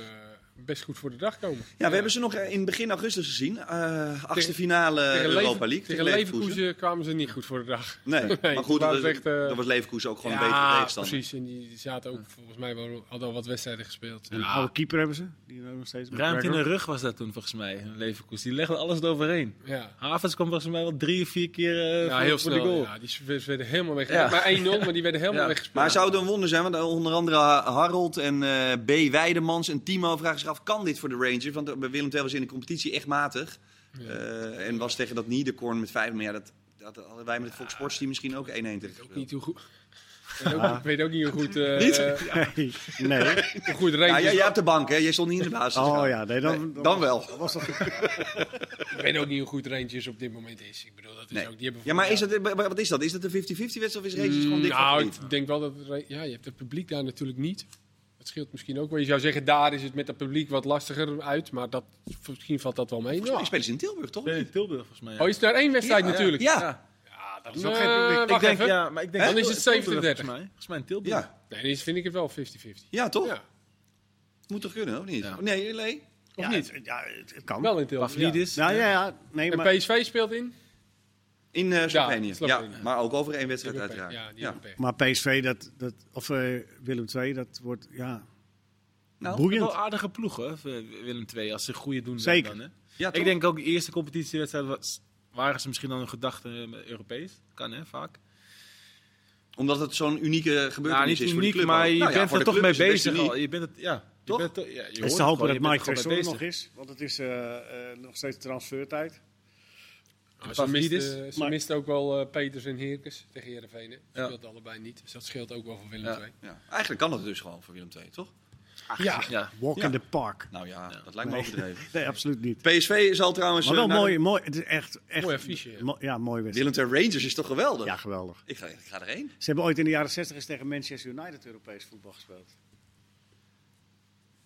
best goed voor de dag komen. Ja, we hebben ze nog eh, in begin augustus gezien. Eh achtste Tegen- finale Leven- Europa League. Tegen Leverkusen kwamen ze niet goed voor de dag. Nee, maar goed, dat dat, was echt, eh, dat was Leverkusen ook gewoon ja, een betere tegenstander. precies. En die zaten ook volgens mij wel, hadden al wat wedstrijden gespeeld. Een oude keeper hebben ze, die er ook nog steeds Ruimte in de McGregor. rug was dat toen volgens mij, een Leverkusen. Die legde alles eroverheen. Ja. Havens kwam volgens mij wel drie of vier keer eh, Ja, voor, heel voor de goal. snel. Ja, die s- ze werden helemaal weg. Ja. Maar 1-0, maar die werden helemaal Ja. weggespeeld. Maar zou het een wonder zijn? Want eh, onder andere Harold en eh, B. Weidemans en Timo vragen zich af... kan dit voor de Rangers? Want eh, bij Willem II was in de competitie echt matig. Eh, en was tegen dat Niederkorn met vijf. Maar ja, dat, dat hadden wij met het Fox Sports team misschien ook 1-1 tegen Ook gespeeld. niet hoe goed. Ik weet ook- Ik weet ook niet hoe goed, eh, eh, Nee, nee. hoe goed Ja, Rangers... jij, jij op de bank, hè? Jij stond niet in de basis. Oh ja, nee, dan, Nee, dan, dan wel. Was dat, Ik weet ook niet hoe goed Rangers op dit moment is. Ik bedoel, dat is Nee. ook... Die hebben Ja, maar is vorig dat, wa- wat is dat? Is dat een 50-50 wedstrijd of is jaar- Rangers gewoon dik Nou, favoriet? ik denk wel dat... Ra- Ja, je hebt het publiek daar natuurlijk niet. Dat scheelt misschien ook wel. Je zou zeggen, daar is het met het publiek wat lastiger uit. Maar dat, misschien valt dat wel mee. Volgens mij Ja. spelen ze in Tilburg, toch? Nee, Tilburg volgens mij. ja. Oh, is het daar één wedstrijd Ja, natuurlijk? Ja, Ja, dat ook Eh, geen- ik- ik wacht ik denk, even. ja, maar ik denk Hè? Dan is het Tilburg, 37. Volgens mij, volgens mij in Tilburg. ja. Nee, dan is- vind ik het wel 50-50. ja toch? Ja. Moet toch kunnen, of niet? Ja. Nee, nee. Of ja, niet? Het, ja, het, het kan. Wel in Tilburg. Pavlidis. Nou ja, ja. Nee, En maar, PSV speelt in? In eh, Slovenië. Ja, Slovenië. maar ook over één wedstrijd, Die hebben uiteraard. pech. Ja, Ja, die hebben pech. maar PSV, dat, dat, of eh, Willem II, dat wordt ja, Nou, boeiend. Wel aardige ploeg, hè, voor Willem II, als ze goede doen. Zeker. Dan, hè. Ja, Ik toch? denk ook de eerste competitiewedstrijd was, waren ze misschien dan een gedachte eh, Europees. Kan hè, vaak. Omdat het zo'n unieke Nou, gebeurtenis niet is voor de uniek, club. ook. maar je Nou ja, bent voor er de toch club mee is het best bezig. uniek. al. Je bent het, ja. je Toch? bent toch- ja, je hoort Het is het te gewoon, hopen je dat bent Mike er gewoon Tresor mee nog bezig. is. Want het is eh, eh, nog steeds transfertijd. Maar ze mist, Pavlidis. eh, ze Maar- mist ook wel eh, Peters en Heerkens tegen Heerenveen. hè. Ze Ja. speelt allebei niet, dus dat scheelt ook wel voor Willem Ja. II. Ja. Eigenlijk kan dat dus gewoon voor Willem II, toch? Ja. Ja. Walk Ja. in the park. Nou ja, dat lijkt me Nee. overdreven. Nee, absoluut niet. PSV zal trouwens... Maar eh, wel naar de- mooi, mooi. Het is echt, echt Mooi affiche, ja. mo- ja, mooi wedstrijd. Willem II Rangers is toch geweldig? Ja, geweldig. Ik, ga, ik ga erheen. Ze hebben ooit in de jaren 60 eens tegen Manchester United Europees voetbal gespeeld.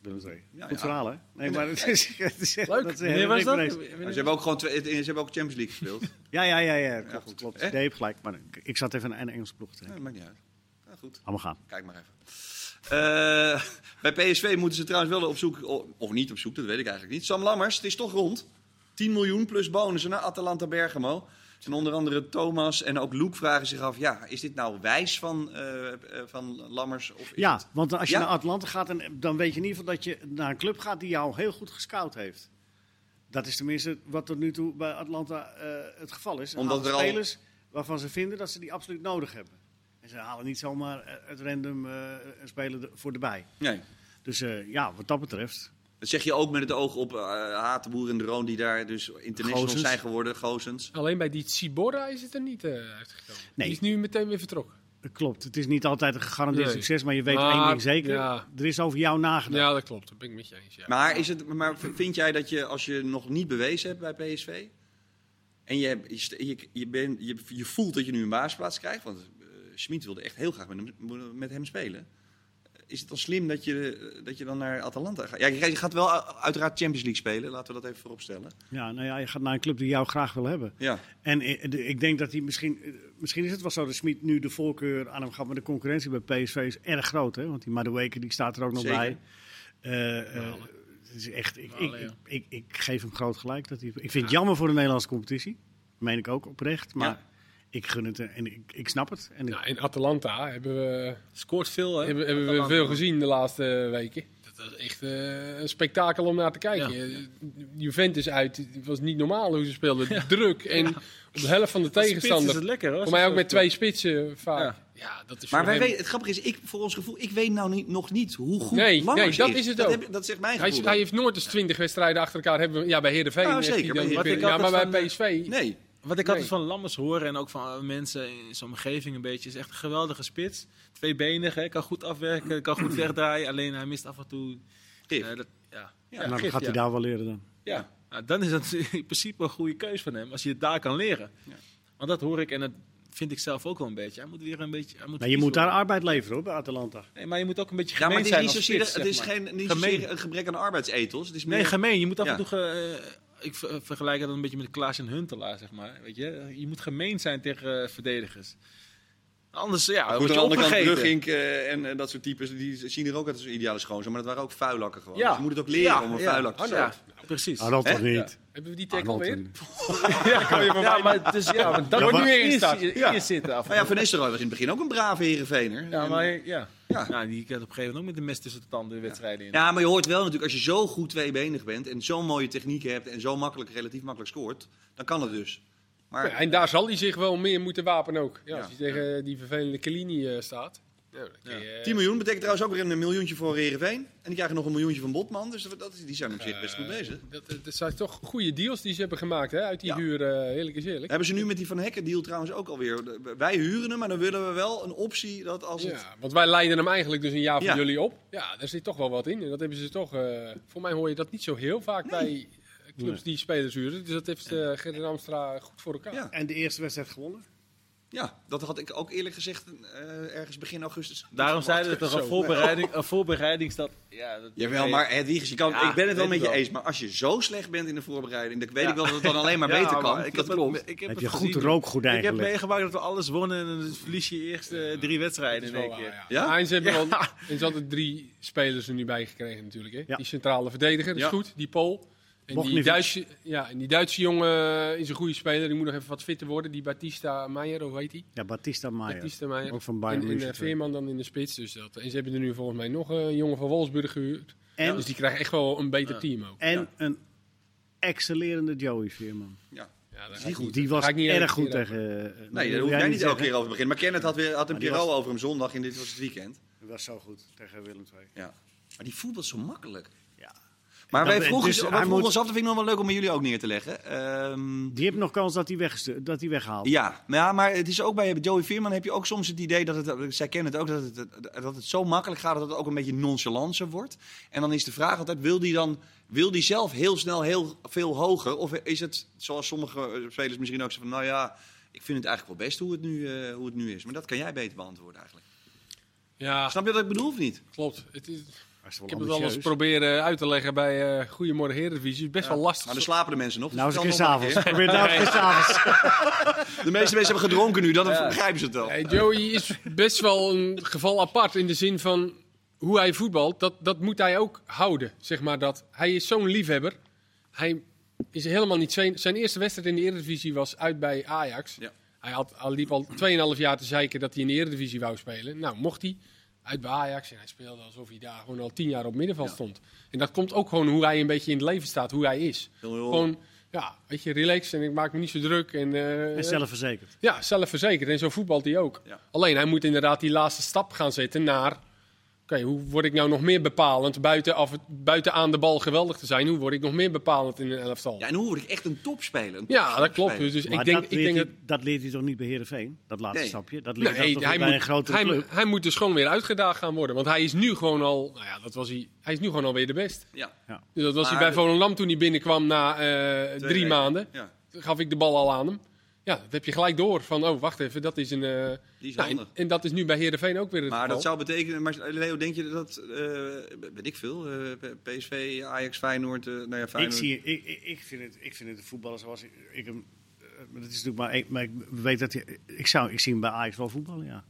Willem II. Ja, Goed ja. verhaal, hè? Nee, maar het is, het is echt... Leuk. Dat is Wanneer was dat? reeks. Maar ze hebben ook gewoon twee- ze hebben ook Champions League gespeeld. Ja, ja, ja, ja. Klopt, goed. klopt. Hè? Nee, je hebt gelijk. Maar ik- ik zat even aan een Engelse ploeg te Ja, denken. dat maakt niet uit. Ja, goed, Allemaal gaan. kijk maar even. Eh, bij PSV moeten ze trouwens wel op zoek, o- of niet op zoek, dat weet ik eigenlijk niet. Sam Lammers, het is toch rond. 10 miljoen plus bonussen naar Atalanta Bergamo. En onder andere Thomas en ook Luke vragen zich af: ja, is dit nou wijs van, eh, eh, van Lammers? Of is Ja, het- want als je Ja? naar Atlanta gaat, dan, dan weet je in ieder geval dat je naar een club gaat die jou heel goed gescout heeft. Dat is tenminste wat tot nu toe bij Atlanta eh, het geval is. Ze Omdat halen er al- spelers waarvan ze vinden dat ze die absoluut nodig hebben. En ze halen niet zomaar eh, het random eh, een speler er- voor erbij. Nee. Dus eh, ja, wat dat betreft. Dat zeg je ook met het oog op eh Hatenboer en de Roon, die daar dus internationals Gozens. zijn geworden, Gozens. Alleen bij die Tsibora is het er niet eh, uitgekomen. Nee. Die is nu meteen weer vertrokken. eh, Klopt, het is niet altijd een gegarandeerd Nee. succes, maar je weet Maar, één ding zeker. ja. Er is over jou nagedacht. Ja, dat klopt. Dat ben ik met je eens. Ja. Maar, is het, maar v- vind jij dat je, als je nog niet bewezen hebt bij PSV... en je, je, st- je, je, ben- je, je voelt dat je nu een baasplaats krijgt... want eh Schmid wilde echt heel graag met hem, met hem spelen... Is het dan slim dat je, dat je dan naar Atalanta gaat? Ja, je je gaat wel u- uiteraard Champions League spelen. Laten we dat even vooropstellen. ja, nou ja, je gaat naar een club die jou graag wil hebben. Ja, En i- de- ik denk dat hij misschien, eh, misschien is het wel zo dat Smit nu de voorkeur aan hem gaat, maar de concurrentie bij PSV is erg groot, hè? Want die Madueke die staat er ook nog Zeker. bij. Eh, eh, het is echt, ik, ik, Malen, ja. ik, ik, ik geef hem groot gelijk. Dat hij, ik vind het jammer voor de Nederlandse competitie, dat meen ik ook oprecht, maar Ja. ik gun het eh, en ik, ik snap het. En ik- Nou, in Atalanta hebben we, Scoort veel, hè? hebben, hebben we Atalanta. veel gezien de laatste weken. Dat is echt eh, een spektakel om naar te kijken. Eh, Juventus uit, het was niet normaal hoe ze speelden. Druk en op de helft van de Als spits tegenstander. is het lekker, hoor. Voor mij ook met Zo- twee spitsen vaak. Ja, Ja. dat is maar voor wij hem- weten, het grappige is, ik, voor ons gevoel, ik weet nou niet, nog niet hoe goed Nee, Lammers nee, dat is het ook. heb ik- dat zegt mijn Hij, gevoel. hij heeft nooit eens 20 wedstrijden achter elkaar. Hebben we, ja, bij Heerenveen. Nou, heeft zeker, hij bij dan- Heerenveen. Ja, maar Wat ik bij altijd PSV. Nee. Nee, Wat ik Nee. altijd van Lammers hoor en ook van eh, mensen in zijn omgeving een beetje, is echt een geweldige spits. Tweebenig, hè, kan goed afwerken, kan goed wegdraaien. Alleen hij mist af en toe. Gif. eh, dat, ja. Ja, nou, gif, dat gaat hij ja. daar wel leren dan. Ja. Nou, dan is dat in principe een goede keus van hem, als je het daar kan leren. Ja. Want dat hoor ik en dat vind ik zelf ook wel een beetje. Hij moet weer een beetje. Hij moet Nou, je vies moet daar worden. arbeid leveren hoor, bij Atalanta. Ah, Nee, maar je moet ook een beetje ja, maar gemeen het is zijn niet als zozeer, spits, het zeg is maar. geen, niet Gemeen. zozeer een gebrek aan arbeidsethos. Het is meer Nee, gemeen. Je moet af en Ja. toe. ge- eh, ik ver- vergelijk dat een beetje met Klaas en Huntelaar, zeg maar. Weet je? je moet gemeen zijn tegen eh, verdedigers. Anders, ja, Maar goed, word aan de je andere kant, opgegeten. Brugink eh, en, en dat soort types, die zien er ook uit als ideale schoonzoon. Maar dat waren ook vuilakken gewoon. Ja. Dus je moet het ook leren Ja, om een ja. vuilak te zijn. Ja, precies. Ah, dat toch niet? Hebben we die Ah, tackle dat weer? een- Ja, maar, dus, ja, want dat Ja, wordt maar- nu weer ingestart. Hier- hier Hier zitten af. Maar ja, Van Nistelrooy was in het begin ook een brave herenveener. Ja, maar ja. Ja. Nou, die krijgt op een gegeven moment ook met de mes tussen de tanden de wedstrijden in. ja, maar je hoort wel natuurlijk, als je zo goed tweebenig bent en zo'n mooie techniek hebt en zo makkelijk, relatief makkelijk scoort, dan kan het dus. Maar eh, Ja, en daar zal hij zich wel meer moeten wapenen ook. Ja, Ja. Als hij tegen die vervelende Kelini eh, staat. Ja, dan kun je- 10 miljoen betekent trouwens ook weer een miljoentje voor Herenveen. En die krijgen nog een miljoentje van Botman. Dus dat, die zijn op zich best Eh, goed bezig. Eh, Dat, dat zijn toch goede deals die ze hebben gemaakt hè, uit die Ja. huur. eh eerlijk is eerlijk. Hebben ze nu met die Van Hekken deal trouwens ook alweer. De- Wij huren hem, maar dan willen we wel een optie dat als het... Ja, want wij leiden hem eigenlijk dus een jaar voor Ja. jullie op. Ja, daar zit toch wel wat in. En dat hebben ze toch. eh, voor mij hoor je dat niet zo heel vaak bij eh, clubs die spelers huren. Dus dat heeft eh Gerrit Amstra goed voor elkaar. Ja. En de eerste wedstrijd gewonnen. Ja, dat had ik ook eerlijk gezegd eh, ergens begin augustus. Daarom zeiden we toch een voorbereiding, een voorbereiding staat. Ja, dat, Jawel, maar Hedwiges, je kan, Ja, ik ben het wel met weet ik je wel. eens. Maar als je zo slecht bent in de voorbereiding, dan weet Ja. ik wel dat het dan alleen maar Ja, beter kan. maar Ik dat heb, klopt. het- ik heb Heb het je goed gezien. rookgordijn Ik heb gelegd. meegemaakt dat we alles wonnen en dan verlies je eerst eh, drie wedstrijden in één keer. Ja? Ja? Ajax hebben Ja. al en ze hadden drie spelers er nu bij gekregen natuurlijk. Hè? Ja. Die centrale verdediger is Ja. goed, die Pool. En die, Bogdanovic. Duitse, ja, en die Duitse jongen is een goede speler. Die moet nog even wat fitter worden. Die Batista Meijer, hoe heet die? Ja, Batista Maier. Batista Meijer. Ook van En, Bayern en, eh, München. Veerman dan in de spits. Dus dat. En ze hebben er nu volgens mij nog een jongen van Wolfsburg gehuurd. En, Dus die krijgen echt wel een beter team ook. en een excellerende Joey Veerman. Ja. Ja, daar is ga niet ik goed. niet- Die daar was ga ik niet erg even goed hier- tegen... Nee, eh, dat daar wil hoef jij jij niet elke zeggen. keer over te beginnen. Maar Kenneth had, weer, had een Maar die bureau was- over hem zondag en dit was het weekend. Dat was zo goed tegen Willem II. Ja. Maar die voetbal is zo makkelijk. Ja. Maar Dat- wij vroegen, dus wij hij vroegen moet- ons af, dat vind ik nog wel leuk om bij jullie ook neer te leggen. Ehm, Die heeft nog kans dat hij, weggestu- dat hij weghaalt. ja. Maar ja, maar het is ook bij Joey Veerman heb je ook soms het idee dat het, zij kennen het ook, dat het, dat het zo makkelijk gaat dat het ook een beetje nonchalancer wordt. En dan is de vraag altijd, wil die dan, wil die zelf heel snel heel veel hoger? Of is het, zoals sommige spelers misschien ook zeggen, van, nou ja, ik vind het eigenlijk wel best hoe het nu, eh, hoe het nu is. Maar dat kan jij beter beantwoorden eigenlijk. Ja, Snap je wat ik bedoel of niet? klopt. Het is, Hij is wel ik heb het al eens ambitieus. proberen uit te leggen bij eh Goedemorgen Herenvisie. Het is best wel lastig. Maar dan slapen de mensen nog. dus Nou is het vertel geen nog maar een s'avonds. Probeer het nou eens geen s'avonds. keer. De meeste mensen hebben gedronken nu, dan begrijpen ze het wel. Nee, Joey is best wel een geval apart in de zin van hoe hij voetbalt. Dat, dat moet hij ook houden, zeg maar. Dat. Hij is zo'n liefhebber. Hij is helemaal niet... Zijn, zijn eerste wedstrijd in de Eredivisie was uit bij Ajax. Ja. Hij had, al liep al 2,5 jaar te zeiken dat hij in de Eredivisie wou spelen. Nou, mocht hij uit bij Ajax. En hij speelde alsof hij daar gewoon al 10 jaar op middenveld stond. En dat komt ook gewoon hoe hij een beetje in het leven staat. Hoe hij is. Heel, heel- Gewoon, ja, weet je, relax en ik maak me niet zo druk. En, eh, En zelfverzekerd. ja, zelfverzekerd. En zo voetbalt hij ook. Ja. Alleen hij moet inderdaad die laatste stap gaan zetten naar... Oké, hoe word ik nou nog meer bepalend? Buiten, af, buiten aan de bal geweldig te zijn, hoe word ik nog meer bepalend in een elftal? Ja, Ja, en hoe word ik echt een topspeler? Een dat klopt. topspeler. Dus, dus ik Maar denk dat, ik leert denk dat... hij, dat leert hij toch niet bij Heerenveen? Dat laatste Nee. stapje? Dat leert hij Nee, toch hij, bij moet, een grotere hij, club? hij moet dus gewoon weer uitgedaagd gaan worden. Want hij is nu gewoon al... Nou ja, dat was hij. Hij is nu gewoon alweer de best. Ja. Dus dat was Maar hij bij de- Volendam toen hij binnenkwam na eh, drie weken. maanden. Ja. Toen gaf ik de bal al aan hem. Ja, dat heb je gelijk door. Van, oh, wacht even, dat is een... eh, Die is nou, en- handig. en, dat is nu bij Heerenveen ook weer het Maar geval. dat zou betekenen, maar Leo, denk je dat, eh weet ik veel, eh, P- PSV, Ajax, Feyenoord, eh nou ja, Ik, Feyenoord. zie, ik, ik, ik vind het, ik vind het een voetballer zoals ik, ik hem. eh, Maar dat is natuurlijk maar, één- maar ik weet dat hij, ik, zou, ik zie hem bij Ajax wel voetballen, ja.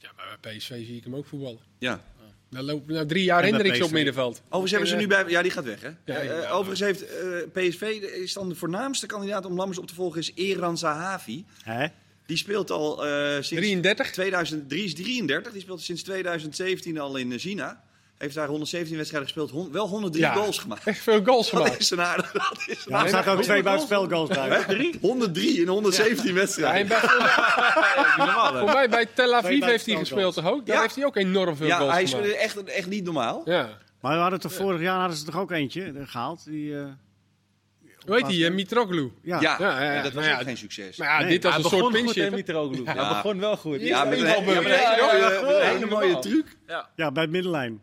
Ja, maar bij PSV zie ik hem ook voetballen. Ja. Daar loopt nou drie jaar En bij Hendricks op PSV. middenveld. Overigens hebben ze nu bij, ja, die gaat weg, hè? Eh, Ja, Eh, ja. eh, overigens heeft eh, PSV, de- is dan de voornaamste kandidaat om Lammers op te volgen, is Eran Zahavi. Hè? Die speelt al eh, sinds 33? 2003 is 33, die speelt sinds 2017 al in eh, China. Heeft daar 117 wedstrijden gespeeld, hon- wel 103 Ja. goals gemaakt. Echt veel goals Dat gemaakt. is een aardig, dat is een Ja, er aardig. zaten ook twee buitenspelgoals bij. 103 in 117 Ja, en wedstrijden. bij- voor mij bij Tel Aviv heeft hij gespeeld toch ook? Daar Ja. heeft hij ook enorm veel Ja, goals hij is gemaakt. echt, echt niet normaal. Ja. Maar we hadden toch vorig jaar hadden ze toch ook eentje eh, gehaald? Die, eh, Hoe heet die? eh, Mitroglou. ja. Ja, Ja, ja, ja. en dat was Nou ja, ook geen succes. Maar ja, Nee, dit was hij een soort begon goed, hè, pinch Mitroglou. Ja. Hij begon wel goed. Ja, met een, Ja, hele- ja, met een hele mooie- ja, ja. met een hele mooie truc. ja, bij het middenlijn.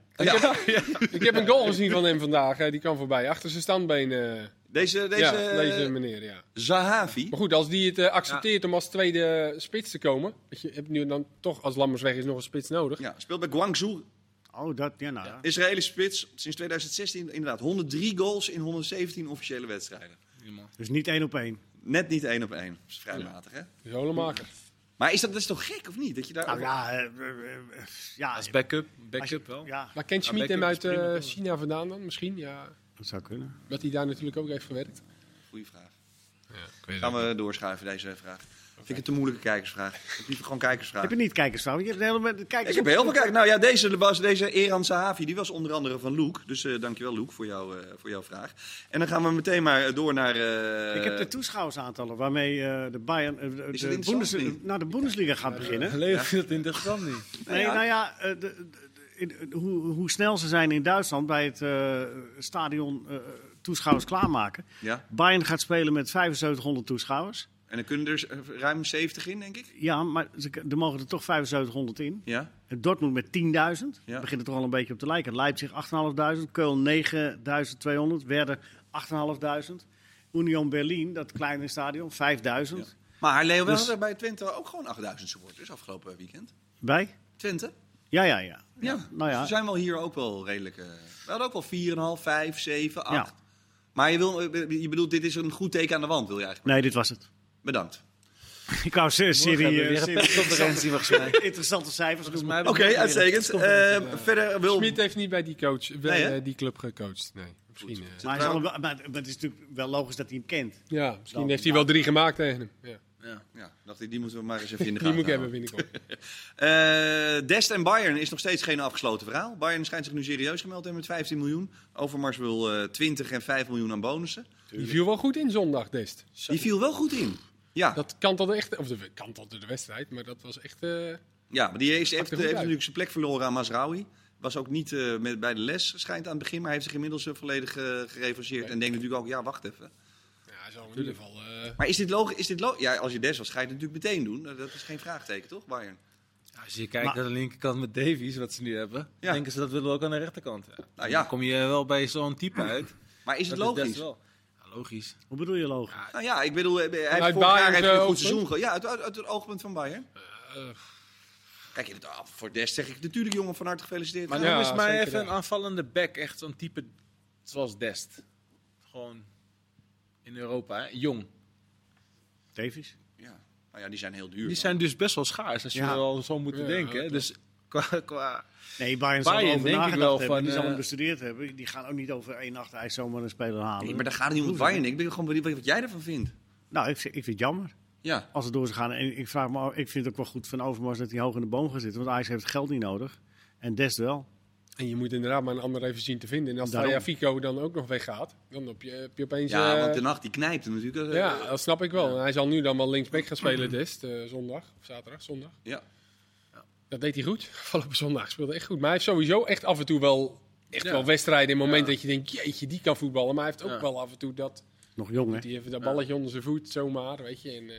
Ik heb een goal gezien van hem vandaag. eh, Die kwam voorbij. Achter zijn standbeen. eh, Deze, deze, eh, ja, deze meneer, ja. Zahavi. Maar goed, als die het eh, accepteert om als tweede eh, spits te komen. Want je hebt nu dan toch, als Lammers weg is, nog een spits nodig. Ja, speelt bij Guangzhou. Oh, dat, ja, nou ja. Israëlische spits. Sinds 2016 inderdaad. 103 goals in 117 officiële wedstrijden. Dus niet één op één. Net niet één op één. Dat is vrij matig, hè? Zolenmaker. Maar is dat, dat is toch gek, of niet? Dat je daar... Ah, Nou ja, eh, eh, eh, ja. Als backup, als je- backup wel. Ja, Maar kent Ja, Schmid hem backup is uit eh, prima, toch? China vandaan dan? Misschien, ja. dat zou kunnen. Dat hij daar natuurlijk ook heeft gewerkt. Goeie vraag. Ja, ik weet Gaan we doorschuiven, deze vraag. Vind ik het een moeilijke kijkersvraag. Ik liever gewoon kijkersvraag. Heb je niet kijkersvrouw? Je hebt een hele kijkers Ik heb heel veel kijken. Nou ja, deze, was, deze Eran Sahavi, die was onder andere van Luke. Dus eh, dankjewel Luke voor, jou, eh, voor jouw vraag. En dan gaan we meteen maar eh, door naar... eh, Ik heb de toeschouwersaantallen waarmee eh, de Bayern eh, de, de, interessant Bundes- niet? nou, de Bundesliga gaat beginnen. Leo vindt het interessant niet. Nee, ja. nou ja, eh, de, de- de- in- hoe, hoe snel ze zijn in Duitsland bij het eh, stadion eh, toeschouwers klaarmaken. Ja, Bayern gaat spelen met 7500 toeschouwers. en dan kunnen er eh, ruim 70 in, denk ik. Ja, maar ze, er mogen er toch 7500 in. Ja, En Dortmund met 10.000. Daar Ja. begint het er al een beetje op te lijken. Leipzig 8.500, Keulen 9.200, Werder 8.500. Union Berlin, dat kleine stadion, 5.000. maar Leo, wel Dus- hadden er bij Twente ook gewoon 8000 supporters afgelopen weekend. Bij? Twente? Ja, ja, ja. Ja, nou ja. Dus we zijn wel hier ook wel redelijk... eh, we hadden ook wel 4,5, 5, 7, 8. Ja. Maar je, wil, eh, je bedoelt, dit is een goed teken aan de wand, wil je eigenlijk. Nee, dit was het. Bedankt. Ik wou se- Morgen hebben serie, we eh, weer een serie persconferentie volgens mij. interessante cijfers Volgens noemen. mij Oké, hebben we morgen weer een uitstekend. persconferentie. Eh, Ja. verder wil... Smit heeft niet bij die, coach, bij, Nee, hè? eh, die club gecoacht. Nee, misschien, eh, Maar, hij zal hem wel- maar- maar het is natuurlijk wel logisch dat hij hem kent. ja, misschien Dan- heeft hij wel drie gemaakt tegen hem. Ja. Ja, nou. ja, dacht ik, die moeten we maar eens even in de Die gaten moet ik hebben houden. binnenkort. Eh, Dest en Bayern is nog steeds geen afgesloten verhaal. Bayern schijnt zich nu serieus gemeld te hebben met 15 miljoen. Overmars wil eh, 20 en 5 miljoen aan bonussen. Die viel wel goed in zondag, Dest. Die viel wel goed in. Ja, Dat kantelde echt, of de, kantelde de wedstrijd, maar dat was echt... eh, ja maar die heeft, heeft, Pakt er heeft goed uit. natuurlijk zijn plek verloren aan Masraoui. Was ook niet eh, met, bij de les, schijnt aan het begin. Maar hij heeft zich inmiddels eh, volledig eh gerevanceerd. En denkt natuurlijk ook, ja, wacht even. ja, hij zal in ieder geval... eh, Maar is dit logisch? Is dit lo ja, als je Des was, ga je het natuurlijk meteen doen. Eh, Dat is geen vraagteken, toch, Bayern? Nou, Als je kijkt Maar- naar de linkerkant met Davies, wat ze nu hebben, Ja. denken ze dat willen we ook aan de rechterkant. Ja. Nou ja. Dan kom je wel bij zo'n type uit. Maar is het Dat logisch? best wel. Ja, logisch. Hoe bedoel je logisch? nou ja, ik bedoel, eh, hij heeft Vanuit vorig jaar Bayern's, heeft eh, hij een goed oogpunt? seizoen gehad. Ja, uit, uit, uit het oogpunt van Bayern. eh, Kijk, in het af. voor Des zeg ik natuurlijk, jongen, van harte gefeliciteerd. Maar Maar noem Ja, eens mij zeker, even ja. een aanvallende back. Echt zo'n type zoals Dest. Gewoon in Europa, hè? jong. Davies? ja. Nou ja, die zijn heel duur. Die man. zijn dus best wel schaars, als je Ja. wel zo moet Ja, denken. hè. klopt. Dus qua, qua Nee, Bayern zal Bayern erover denk ik nagedacht wel hebben. van, die zal hem eh, bestudeerd hebben. Die gaan ook niet over één nacht ijs zomaar een speler halen. Nee, maar daar gaat het niet om Bayern. Ik ben gewoon benieuwd wat jij ervan vindt. Nou, ik, vind- ik vind het jammer. Ja. Als het door zou gaan. En ik, vraag me, af- ik vind het ook wel goed van Overmars dat hij hoog in de boom gaat zitten. Want Ajax heeft het geld niet nodig. En Dest wel. en je moet inderdaad maar een ander even zien te vinden. En als Daarom. Taya Fico dan ook nog weggaat, dan heb je, heb je opeens... Ja, eh, want de nacht die knijpt hem natuurlijk. eh, ja, dat snap ik wel. En Hij zal nu dan wel linksback gaan spelen, Dest, eh, zondag. Of zaterdag, zondag. ja. Dat deed hij goed. Afgelopen zondag speelde hij echt goed. Maar hij heeft sowieso echt af en toe wel, echt wel wedstrijden in momenten dat je denkt, jeetje, die kan voetballen. Maar hij heeft ook Ja. wel af en toe dat, Nog jong, hè? dat hij even dat balletje onder zijn voet zomaar, weet je. En, eh,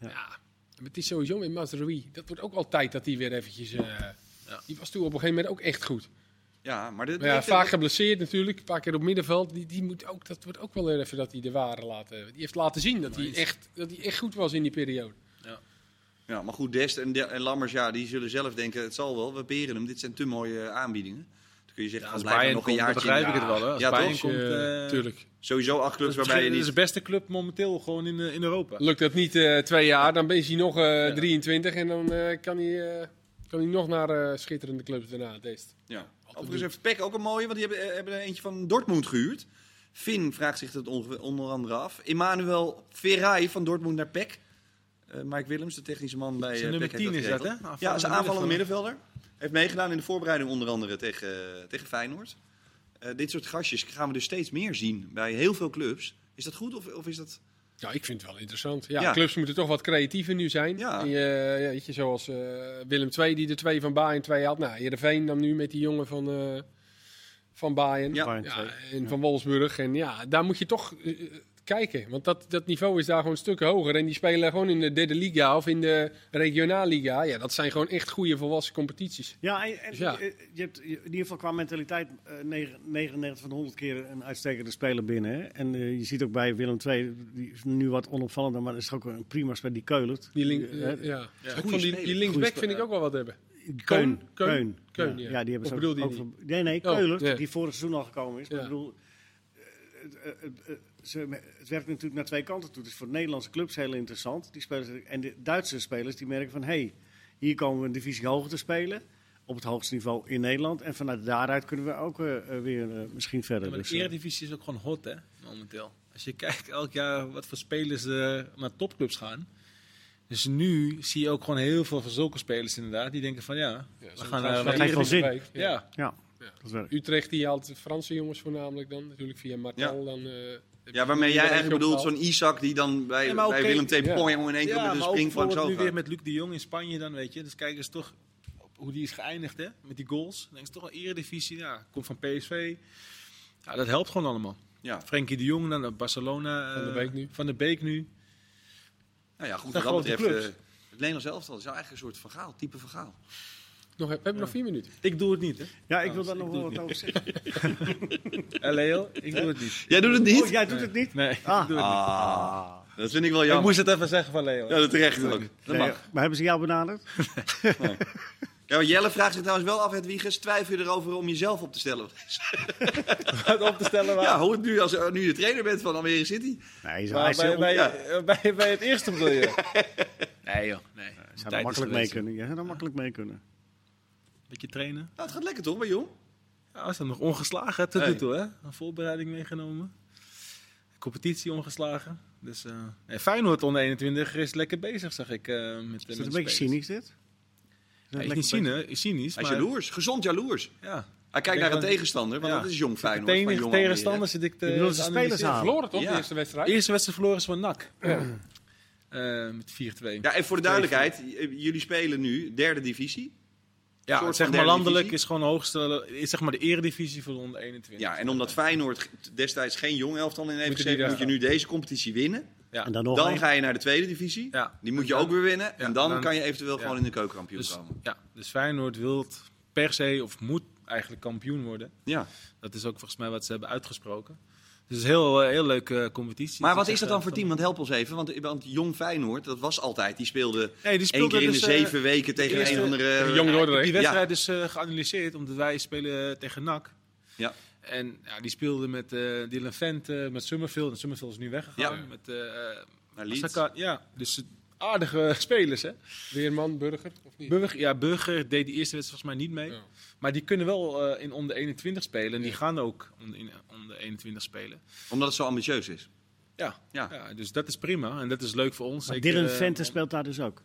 ja. Maar het is sowieso met Mazraoui. Dat wordt ook altijd dat hij weer eventjes... eh, Die was toen op een gegeven moment ook echt goed. Ja, maar dit, Maar ja, dit- vaak geblesseerd natuurlijk. Een paar keer op middenveld. Die, die moet ook, dat wordt ook wel even dat hij de ware laat. eh, Die heeft laten zien dat hij, echt, dat hij echt goed was in die periode. ja, maar goed, Dest en, De- en Lammers, ja, die zullen zelf denken, het zal wel, we peren hem. Dit zijn te mooie eh, aanbiedingen. Dan kun je zeggen, ja, van als blijf maar Bayern nog komt, een dan jaartje. begrijp in. ik het wel. Hè? Als Ja, Bayern toch? komt, eh, Dus, Tuurlijk. Sowieso acht clubs dat is waarbij je misschien- dat is niet... de beste club momenteel gewoon in, eh, in Europa. Lukt dat niet eh, twee jaar, dan is hij nog eh, 23 en dan eh, kan, hij, eh, kan hij nog naar eh, schitterende clubs daarna. Deze. Ja. Overigens heeft Peck ook een mooie, want die hebben, eh, hebben er eentje van Dortmund gehuurd. Finn vraagt zich dat onge- onder andere af. Emmanuel Ferrai van Dortmund naar Peck. Eh Mike Willems, de technische man bij eh, Zijn nummer Peck, heeft 10 is dat, hè? geregeld. Ja, is een aanvallende middenvelder. Heeft meegedaan in de voorbereiding onder andere tegen, tegen Feyenoord. Eh, dit soort gastjes gaan we dus steeds meer zien bij heel veel clubs. Is dat goed of, of is dat... Ja, ik vind het wel interessant. Ja, Ja. Clubs moeten toch wat creatiever nu zijn. Ja. Die, eh, ja, weet je, zoals eh, Willem II, die de twee van Bayern twee had. Nou, Heerenveen dan nu met die jongen van, eh, van Bayern. Ja. Bayern Ja, twee. en van Wolfsburg. En ja, daar moet je toch eh, eh, kijken. Want dat, dat niveau is daar gewoon stukken hoger. En die spelen gewoon in de derde liga of in de regionaal liga. Ja, dat zijn gewoon echt goede volwassen competities. Ja, en, en Dus ja. eh, je hebt je- in ieder geval qua mentaliteit eh, negen- 99 van de 100 keer een uitstekende speler binnen. Hè? En eh, je ziet ook bij Willem II, die is nu wat onopvallender, maar dat is ook een prima speler, die Keulert. Die link, Eh, eh, ja. Ja, ik vond die, speler, die linksback goeie vind ik ook wel wat hebben. Keun. Keun, Keun. Keun, ja. ja. Ja, die hebben Of ze ook- bedoel je ook, die? ver- Nee, nee, Oh, Keulert, ja. die vorig seizoen al gekomen is. Maar Ja. ik bedoel, eh, het, eh, het, eh, ze- het werkt natuurlijk naar twee kanten toe. Dus voor de Nederlandse clubs heel interessant. Die spelers, en de Duitse spelers die merken van... hé, hey, hier komen we een divisie hoger te spelen... op het hoogste niveau in Nederland. En vanuit daaruit kunnen we ook eh, eh, weer eh, misschien verder. Maar Dus, de eh, Eredivisie is ook gewoon hot, hè, momenteel. Als je kijkt elk jaar wat voor spelers eh, naar topclubs gaan. Dus nu zie je ook gewoon heel veel van zulke spelers inderdaad. Die denken van ja, Ja, we zo'n gaan... transfer eh, heeft wel zin. week, ja. ja, Dat werkt. Utrecht die haalt Franse jongens voornamelijk dan. Natuurlijk via Martel dan. eh, heb Ja, je waarmee die jij dan eigenlijk bedoelt opgehaald. zo'n Isaac die dan bij, Ja, maar bij oké, Willem II ja. Pong in één keer ja, met een maar ook springplank bijvoorbeeld zo nu gaat. weer met Luc de Jong in Spanje dan, weet je. Dus kijk eens toch hoe die is geëindigd, hè. Met die goals. Dan is het toch een eredivisie. Ja, komt van PSV. Ja, dat helpt gewoon allemaal. Ja. Frenkie de Jong dan naar Barcelona. Van der eh, Beek nu. Van der Beek nu. Nou ja, goed, wat dat Dat grote betreft... clubs. eh, het Nederlands elftal is eigenlijk een soort vergaal, type vergaal. Nog, we hebben nog vier minuten. Ik doe het niet, hè. Ja, ik wil Trouwens, daar nog ik wel wat doe over zeggen. Eh, Leo, ik doe het niet. Jij doet het niet? Oh, jij doet het niet? Nee, Ah. ik doe het niet. Ah, dat vind ik wel Ik jammer. moest het even zeggen van Leo. Ja, dat terecht ook. Dat Nee, mag. maar hebben ze jou benaderd? Ja, maar Jelle vraagt zich trouwens wel af, Hedwiges, twijfel je erover om jezelf op te stellen? Het op te stellen waar. Ja, hoe het nu als eh, nu je trainer bent van Almere City. Nou, Nee, ze Maar hij bij, zou bij, ja. eh, bij, bij het eerste bedoel je? nee joh, nee. zou er makkelijk mee kunnen. Je zou er makkelijk mee kunnen. Beetje trainen. Nou, het gaat lekker toch, bij Jong? Ja, we staan nog ongeslagen hè, tot Nee. nu toe. Hè? Een voorbereiding meegenomen. Competitie ongeslagen. Dus, eh nee, Feyenoord onder 21 is lekker bezig, zag ik. eh met, met Is de dat een beetje spelers. cynisch dit? Is Ja, dat is lekker niet cynisch, cynisch Hij is maar jaloers, gezond jaloers. ja. Hij kijkt Ik naar denk een dat- tegenstander, want ja. dat is Jong Feyenoord. van Tegen, Jong tegenstander zit ik te Je bedoelt de te spelers analyseren. halen. Verloren toch, Ja. de eerste wedstrijd? De eerste wedstrijd verloren is van NAC. Ja. Eh, met 4-2. Almere. Ja, en voor de duidelijkheid, j- jullie spelen nu derde divisie. soort van Ja, zeg maar derde landelijk divisie. is gewoon hoogste, is zeg maar de eredivisie voor de onder 21. Ja, en omdat Feyenoord g- destijds geen jong elftal in heeft Moeten die gezeten, moet je nu daar- deze competitie winnen. En dan nog Dan een. ga je naar de tweede divisie. Ja. Die moet je ook weer winnen. En ja, dan, dan- kan je eventueel ja. gewoon in de keukenkampioen Dus, komen. ja, dus Feyenoord wil per se, of moet eigenlijk kampioen worden. Ja. Dat is ook volgens mij wat ze hebben uitgesproken. Dus het is een heel, eh, heel leuke competitie. Maar wat echt, is dat dan eh, voor team? Want help ons even. Want, want Jong Feyenoord, dat was altijd. Die speelde Nee, die één speelde keer in de dus, eh, zeven weken tegen eerste- een of andere... Tegen Jong Dordrecht. Die wedstrijd is eh, geanalyseerd, omdat wij spelen eh, tegen NAC. Ja. En ja, die speelde met eh Dylan Vent, eh, met Summerfield. En Summerfield is nu weggegaan. Ja. Met, eh, eh, naar Leeds. Saka- ja, dus eh, aardige spelers, hè? Weerman, Burger, of niet? Burger, ja, Burger deed die eerste wedstrijd volgens mij niet mee. Ja. Maar die kunnen wel eh, in onder 21 spelen. En die gaan ook onder, in, onder 21 spelen. Omdat het zo ambitieus is. Ja. Ja. Ja. dus dat is prima. En dat is leuk voor ons. Maar Ik, Dylan eh, Vente speelt daar dus ook.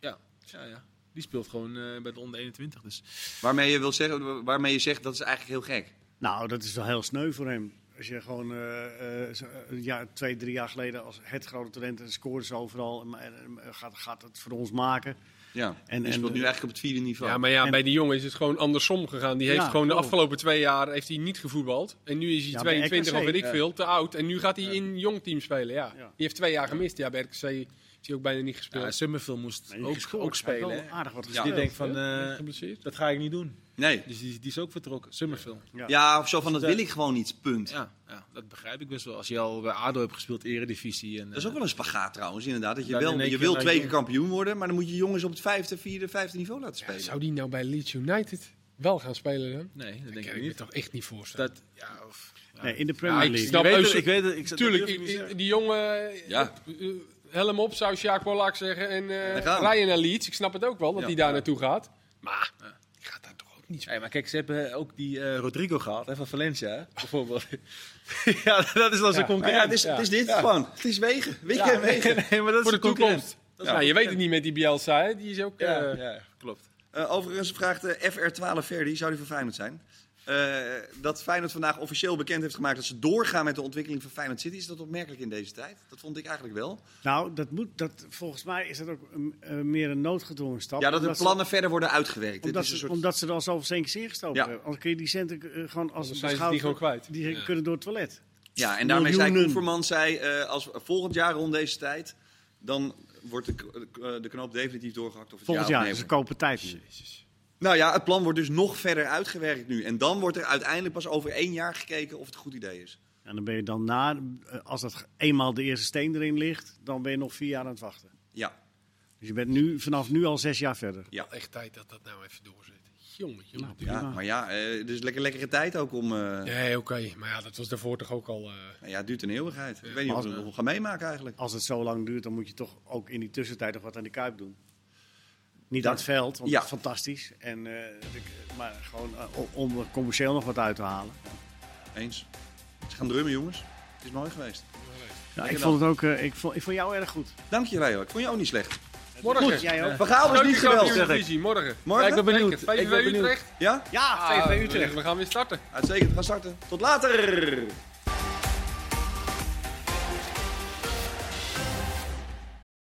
Ja, ja, ja. Die speelt gewoon eh, bij de onder 21. Dus. Waarmee je, wil zeggen, waarmee je zegt, dat is eigenlijk heel gek. Nou, dat is wel heel sneu voor hem. Als je gewoon eh, eh, zo- een jaar, twee, drie jaar geleden als het grote talent en scoorde ze overal. En, en, en gaat, gaat het voor ons maken. Ja. En, En- je en- speelt nu eigenlijk op het vierde niveau. Ja, maar ja, En- bij die jongen is het gewoon andersom gegaan. Die heeft Ja, gewoon de klopt. afgelopen twee jaar heeft hij niet gevoetbald. En nu is hij Ja, bij 22 of RKC, weet ik ja. veel, te oud. En nu gaat hij in jong team spelen, ja. Ja. Die heeft twee jaar gemist. Ja, bij RKC heeft hij ook bijna niet Ja, gespeeld. Summerfield moest Nee, ook, gescoord. ook Hij heeft spelen. wel hè. aardig wat Dus die gespeeld. denkt van, Hè? eh, Geblesseerd. dat ga ik niet doen. Nee. Dus die, die is ook vertrokken. Summerfield. Ja, of zo van, dat wil ik gewoon niet, punt. Dus, eh, Ja, ja, dat begrijp ik best wel. Als je al bij ADO hebt gespeeld, eredivisie. En, Dat is eh, ook wel een spagaat trouwens, inderdaad. Dat je Dan in wel, één je keer wil naar twee keer jong. kampioen worden, maar dan moet je jongens op het vijfde, vierde, vijfde niveau laten spelen. Zou die nou bij Leeds United wel gaan spelen dan? Nee, dat Ik denk kan ik me niet. toch echt niet voorstellen. Dat, ja, of, Nee, in de Premier Ja, ik League. snap- ik weet het, Eusel- ik weet het. Ik zat- Tuurlijk, dat durf ik i- niet i- te die jongen... eh, Ja. eh, Helm op, zou Sjaak Polak zeggen. En eh Daar gaan we. rijden naar Leeds. Ik snap het ook wel, dat Ja. hij daar naartoe gaat. Maar, die gaat daar toch ook niet Hey, maar kijk, ze hebben ook die eh, Rodrigo gehaald, hè, van Valencia, hè, bijvoorbeeld. ja, dat is wel zo'n Maar ja, concurrent. het is, Ja. het is dit gewoon. Het is wegen. Wegen Ja, en wegen. nee, maar dat Voor de is een concurrent. toekomst. Nou, je weet het niet met die Bielsa, hè? Die is ook... Ja, eh, ja, klopt. Eh, overigens vraagt eh, FR12 Verdi, zou die voor Feyenoord zijn? Eh, dat Feyenoord vandaag officieel bekend heeft gemaakt dat ze doorgaan met de ontwikkeling van Feyenoord City. Is dat opmerkelijk in deze tijd? Dat vond ik eigenlijk wel. Nou, dat moet, dat, volgens mij is dat ook een- eh, meer een noodgedwongen stap. Ja, dat de Omdat ze- plannen verder worden uitgewerkt. Dit Omdat is ze, een soort... omdat ze er al zoveel centjes ingestoken Ja. hebben. Anders kun je die centen eh, gewoon als Anders zijn ze die gewoon kwijt. Die Ja. kunnen door het toilet. Ja, en daarmee zei miljoenen. Koeverman, zei, eh, als we- volgend jaar rond deze tijd, dan wordt de, k- eh, de knoop definitief doorgehakt. Of het Volgend ja of jaar, dus nee ze wordt. kopen tijd. nu. Nou ja, het plan wordt dus nog verder uitgewerkt nu. En dan wordt er uiteindelijk pas over één jaar gekeken of het een goed idee is. En dan ben je dan na, eh, als dat eenmaal de eerste steen erin ligt, dan ben je nog vier jaar aan het wachten. Ja, Dus je bent nu, vanaf nu al zes jaar verder. Echt tijd dat dat nou even doorzit. Jongetje, jongen. ja maar ja, eh, het is lekker lekkere tijd ook om... eh, Nee, oké. Maar ja, dat was daarvoor toch ook al... eh, Nou ja, het duurt een eeuwigheid. Ik weet niet of we het nog gaan meemaken eigenlijk. Als het zo lang duurt, dan moet je toch ook in die tussentijd nog wat aan de kuip doen. Niet aan het veld, want Ja. dat is fantastisch. En, eh, ik- maar gewoon eh, o- om er commercieel nog wat uit te halen. Eens. Ze gaan drummen, jongens. Het is mooi geweest. Ja, ik, dan. vond het ook, eh, ik, vond, ik vond jou erg goed. Dank je, Leo. Ik vond je ook niet slecht. Morgen. Jij ook? Van Gaal is niet geweldig, zeg ik. Eredivisie, morgen. Morgen? ik ben benieuwd. VVV Ik ben benieuwd. Utrecht. Ja? Ja, Ah, VV Utrecht. We gaan weer starten. Uitstekend, we gaan starten. Tot later!